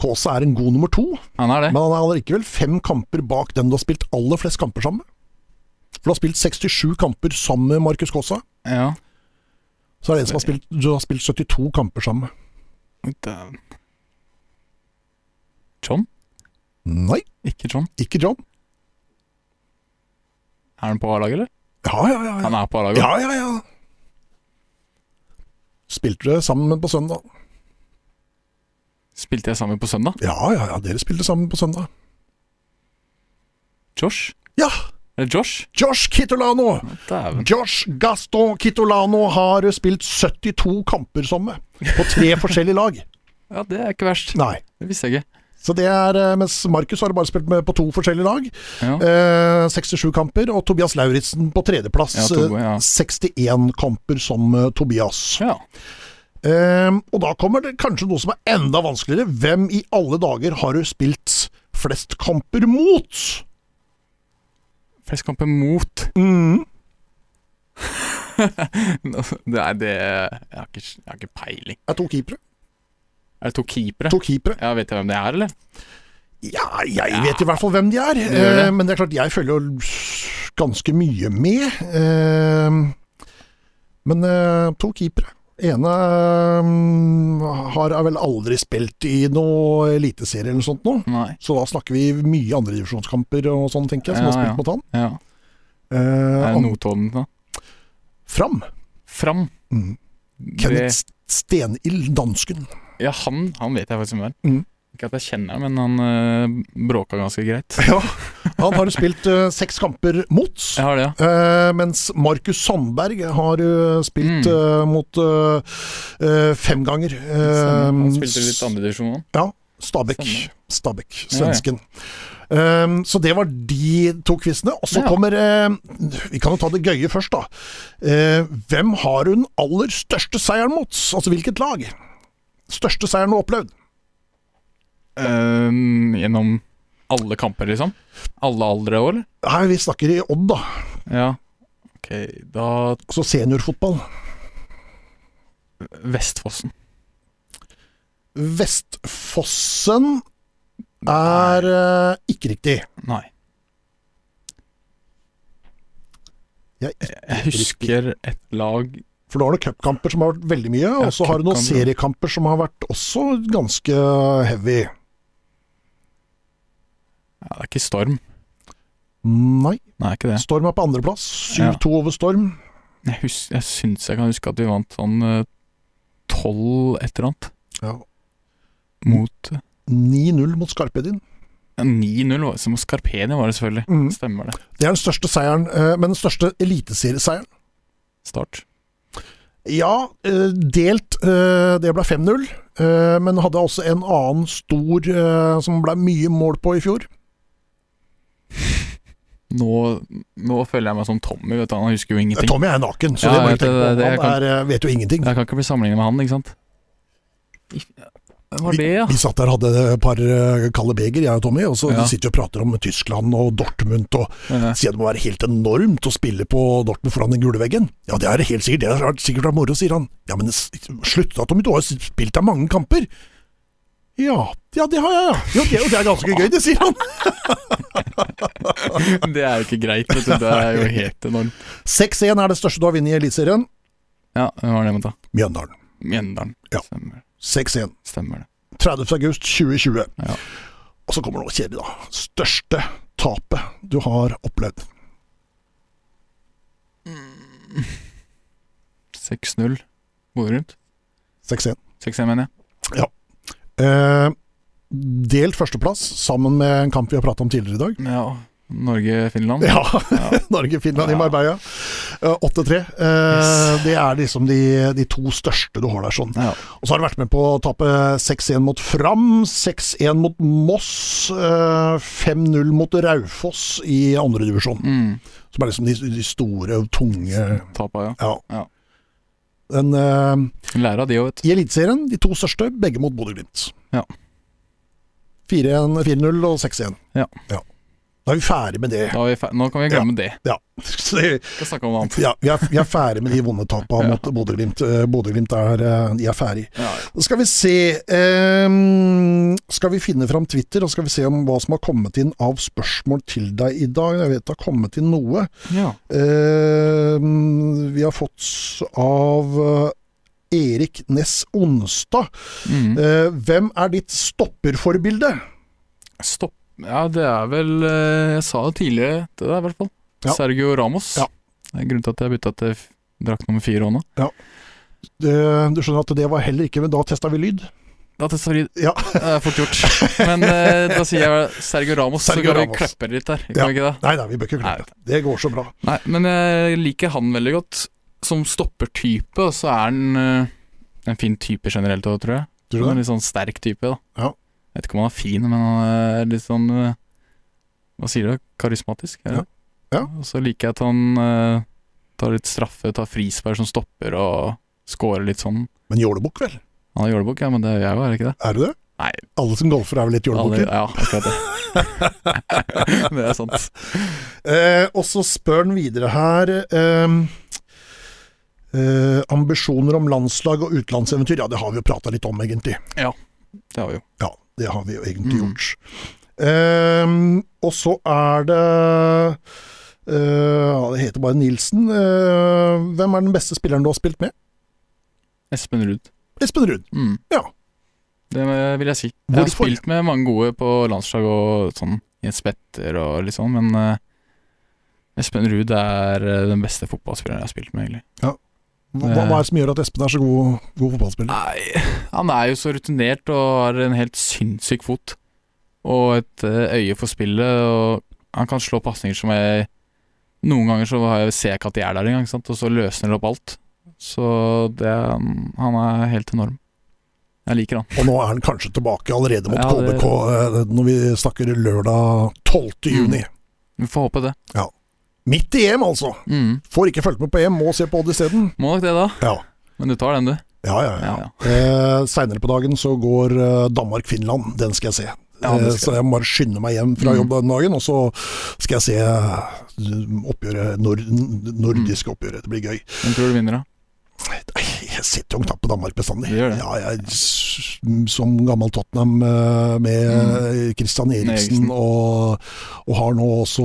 Kaasa er en god nummer to, Han er det. men han er allikevel fem kamper bak den du har spilt aller flest kamper sammen med. For du har spilt 67 kamper sammen med Markus Kaasa. Ja. Så er det en som har spilt, du har spilt 72 kamper sammen med. Dæven. John? Nei, Ikke John. ikke John. Er han på A-laget, eller? Ja, ja, ja. ja. Han er på A-laget. Ja, ja, ja. Spilte dere sammen på søndag? Spilte jeg sammen på søndag? Ja, ja, ja, dere spilte sammen på søndag. Josh? Ja, Er det Josh? Josh Kitolano! Dæven. Josh Gaston Kitolano har spilt 72 kamper sammen med, på tre forskjellige lag. Ja, det er ikke verst. Nei. Det visste jeg ikke. Så det er, eh, Mens Markus har bare spilt med på to forskjellige lag. Ja. Eh, 67 kamper. Og Tobias Lauritzen på tredjeplass. Ja, to, ja. eh, 61 kamper som eh, Tobias. ja. Eh, og da kommer det kanskje noe som er enda vanskeligere. Hvem i alle dager har du spilt flest kamper mot? Flest kamper mot Mm. Det er det jeg har, ikke, jeg har ikke peiling. Det er to keepere. Er det to keepere? To keepere. Ja, Vet jeg hvem det er, eller? Ja, jeg vet i hvert fall hvem de er. gjør det. Eh, men det er klart, jeg følger jo ganske mye med. Ehm, Eh, men eh, to keepere. Ene um, har vel aldri spilt i noe eliteserie eller noe sånt nå. Nei. Så da snakker vi mye andredivisjonskamper og sånn, tenker jeg, som har Ja, ja. spilt mot han. Ja. Eh, Er det an- Notodden, da? Fram. Fram. Mm. Kenneth Det, Stenild, dansken. ja, han, han vet jeg faktisk hvem er. Mhm. Ikke at jeg kjenner ham, men han øh, bråka ganske greit. Ja, han har jo spilt eh, seks kamper mot. Jeg har det, ja. Eh, mens Markus Sandberg har eh, spilt Mm. eh, mot eh, eh, fem ganger. eh, Han spilte litt andredivisjon òg. Stabæk. Stemmer. Stabæk, Ja, ja. svensken. Ehm, så det var de to quizene. Og så Ja. kommer eh, Vi kan jo ta det gøye først, da. Eh, hvem har hun aller største seieren mot? Altså hvilket lag? Største seieren du har opplevd? Øhm, um, gjennom alle kamper, liksom? Alle aldre òg, eller? Nei, vi snakker i Odd, da. Ja. Ok, da Altså seniorfotball. Vestfossen. Vestfossen er eh, ikke riktig. Nei. Jeg er Jeg husker et lag For da har du cupkamper som har vært veldig mye, Ja, og så har du noen cupkamper. seriekamper som har vært også ganske heavy. ja, Det er ikke Storm. Nei, Nei, ikke det. Storm er på andreplass. 7-2 over Storm. Jeg, hus jeg syns jeg kan huske at vi vant sånn eh, 12 et eller annet Ja. mot eh, 9-0 mot Skarpedin. 9-0, var det som Scarpenia var det selvfølgelig. Mm. Stemmer det. Det er den største seieren, eh, men den største eliteserieseieren. Start. Ja, eh, delt. eh, Det ble 5-0. eh, Men hadde også en annen stor eh, som ble mye mål på i fjor. Nå, nå føler jeg meg som Tommy, vet du. Han husker jo ingenting. Tommy er naken, så Ja, det må jeg du tenke vet det, på. det- Han er, eh, vet jo ingenting. Jeg kan ikke bli sammenlignet med han, ikke sant? Hvem var det, ja? Vi satt der og hadde et par eh, kalde beger, jeg og Tommy, og så Ja. sitter vi og prater om Tyskland og Dortmund og Eh, sier det må være helt enormt å spille på Dortmund foran den gule veggen. Ja, det er det helt sikkert. Det har vært- sikkert vært moro, sier han. Ja, men s- slutt da, Tommy. Du har jo spilt deg mange kamper. Ja, ja, det har jeg, ja. Jo, det, jo, det er ganske gøy, det, sier han. Det er jo ikke greit, vet du. Det er jo helt enormt. 6-1 er det største du har vunnet i Eliteserien. Ja, hvem var det jeg måtte ta? Mjøndalen. Mjøndalen. Ja. Stemmer, 6-1. stemmer det. 30. august 2020. Ja. Og så kommer noe kjedelig, da. Største tapet du har opplevd. 6-0 Bodø-Glimt. 6-1. 6-1, mener jeg. Eh, delt førsteplass sammen med en kamp vi har pratet om tidligere i dag. Ja. Norge-Finland. Ja, Ja. Norge-Finland i Mm. Ja. Marbella. Eh, 8-3. Eh, Yes. Det er liksom de, de to største du har der. sånn. Ja. Og så har du vært med på å tape 6-1 mot Fram, 6-1 mot Moss, eh, 5-0 mot Raufoss i andre divisjon. Mm. Som er liksom de, de store, tunge Tapa, ja. Ja. Ja. Den, eh, Lærer av de òg, vet du. I Eliteserien, de to største, begge mot Bodø-Glimt. Ja. 4-1, 4-0 og 6-1. Ja. Da er vi ferdig med det. Da er vi fer- Nå kan vi glemme det. Ja. Så det Skal snakke om noe annet. Ja, vi er, vi er ferdig med de vonde tapene mot Bodø-Glimt. Eh, Bodø-Glimt er, eh, de er ferdig. Ja. Så skal vi se ehm, Skal vi finne fram Twitter, og skal vi se om hva som har kommet inn av spørsmål til deg i dag. Jeg vet det har kommet inn noe. ja. Ehm, vi har fått av eh, Erik Ness Onstad. Mm. Eh, hvem er ditt stopperforbilde? Stopp Ja, det er vel eh, Jeg sa det tidligere, det der i hvert fall. Ja. Sergio Ramos. Ja. Det er grunnen til at jeg bytta til f- drakt nummer fire òg nå. Det- du skjønner at det var heller ikke, men da testa vi lyd. Da tester vi Ja. Det er fort gjort. Men eh, da sier jeg Sergio Ramos, Sergio så kan Ramos. vi klappe litt der. Kan Ja. vi ikke det? Nei, nei, vi bør ikke Nei, glemme det. Det går så bra. Nei, men jeg liker han veldig godt. Som stoppertype, og så er han eh, en fin type generelt òg, tror jeg. Tror du Han er det? en litt sånn sterk type, da. Ja. Vet ikke om han er fin, men han er litt sånn eh, Hva sier du? Karismatisk? Er det? Ja. Ja. Og så liker jeg at han eh, tar litt straffe, tar frispark som stopper, og scorer litt sånn. Men jålebukk, vel? Han er jålebukk, ja, men det gjør jeg jo, er det ikke det? Er du det? Nei. Alle som golfer er vel litt Alle- jålebukker? ja, akkurat det. det er sant. Eh, og så spør han videre her eh, eh, Ambisjoner om landslag og utenlandseventyr. Ja, det har vi jo prata litt om, egentlig. Det har vi jo. Ja, det har vi jo egentlig Mm. gjort. Eh, og så er det Ehm, eh, ja, Det heter bare Nilsen. Eh, hvem er den beste spilleren du har spilt med? Espen Ruud. Espen Ruud. Mm. Ja. Det eh, vil jeg si. Jeg har Hvorfor? spilt med mange gode på landslag og sånn, Jens Petter og litt sånn, men eh, Espen Ruud er eh, den beste fotballspilleren jeg har spilt med, egentlig. Hva, hva er det som gjør at Espen er så god, god Ah. fotballspiller? Nei, han er jo så rutinert og har en helt sinnssyk fot. Og et eh, øye for spillet, og han kan slå pasninger som jeg Noen ganger så har jeg, ser jeg ikke at de er der engang, ikke sant, og så løsner det opp alt. Så det er- Han er helt enorm. Jeg liker han. Og nå er han kanskje tilbake allerede mot Ja, det- Mm. KBK eh, når vi snakker lørdag 12. juni. Vi får håpe det. Midt i EM, altså! Mm. Får ikke fulgt med på EM, må se på Odd isteden. Må nok det, da. Ja. Men du tar den, du. Ja, ja, ja. Ja, ja. Eh, Seinere på dagen så går eh, Danmark-Finland. Den skal jeg se. Ja, det Eh, skal så jeg må bare skynde meg hjem fra Mm. jobb den dagen, og så skal jeg se eh, oppgjøret, nord nordiske oppgjøret. Det blir gøy. Hvem tror du vinner, da? Nei, Jeg setter jo en knapp på Danmark bestandig. Du gjør det? Ja, jeg, s- som gammel Tottenham eh, med Mm. Christian Eriksen, Eriksen. Og, og har nå også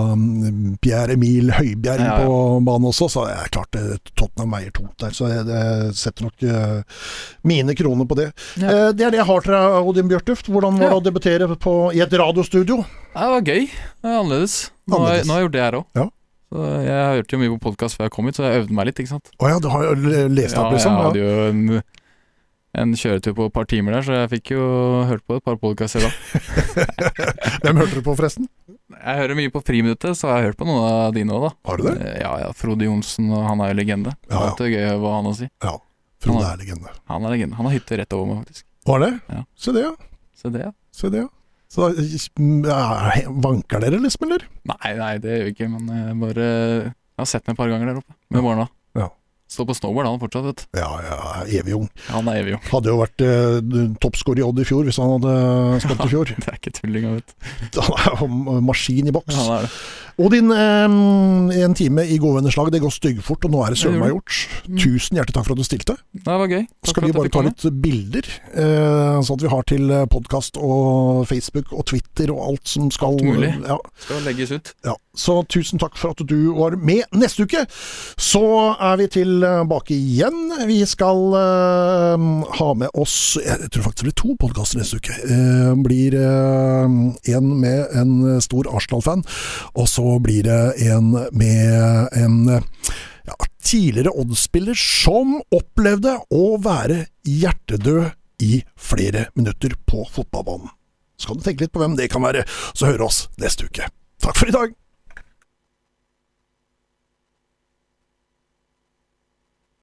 mm, Pierre Emil Høibjerg Ja, ja. på banen også, så det er klart eh, Tottenham veier tungt der. Så jeg, jeg setter nok eh, mine kroner på det. Ja. Eh, det er det jeg har til deg, Odin Bjørtuft. Hvordan var det å debutere på, i et radiostudio? Ja, Det var gøy. Det er annerledes. Nå, Har, jeg- Annerledes. nå har jeg gjort det her òg. Ja. Jeg har hørt jo mye på podkast før jeg kom hit, så jeg øvde meg litt. ikke sant? Å ja, du har jo lest opp, jeg liksom? Ja. hadde jo en, en kjøretur på et par timer der, så jeg fikk jo hørt på et par podkaster da. Hvem hørte du på, forresten? Jeg hører mye på Friminuttet, så har jeg hørt på noen av dine òg, da. Har du det? Eh, Ja, ja, Frode Johnsen, og han er jo legende. Ja, ja. Det er gøy hva han har å si. Frode er legende. Han er legende. Han har hytte rett over meg, faktisk. Var det? Ja. Se det, ja. Så det, ja. Se det, ja. Så da ja, vanker dere, liksom, eller? Nei, nei, det gjør vi ikke, men jeg bare Jeg har sett ham et par ganger der oppe, med barna. Ja. Står på snowboard han fortsatt, vet du. Ja, ja, evig ung. Han er evig ung. Hadde jo vært eh, toppskårer i Odd i fjor hvis han hadde spilt i fjor. Det er ikke tulling, jeg vet du. Han er jo en maskin i boks. Han er det. Odin, eh, en time i gode venners lag, det går styggfort, og nå er det søren meg gjort. Tusen hjertelig takk for at du stilte. Det var gøy. Takk Skal for vi at jeg bare fikk ta komme. litt bilder, eh, sånn at vi har til podkast og Facebook og Twitter og alt som skal Alt mulig. Ja, Skal legges ut. Ja, så tusen takk for at du var med. Neste uke så er vi tilbake igjen. Vi skal eh, ha med oss Jeg tror faktisk det blir to podkaster neste uke. Eh, blir eh, en med en stor Arsenal-fan, og så blir det en med en eh, ja, tidligere Odd-spiller som opplevde å være hjertedød i flere minutter på fotballbanen. Så kan du tenke litt på hvem det kan være, så høre oss neste uke. Takk for i dag!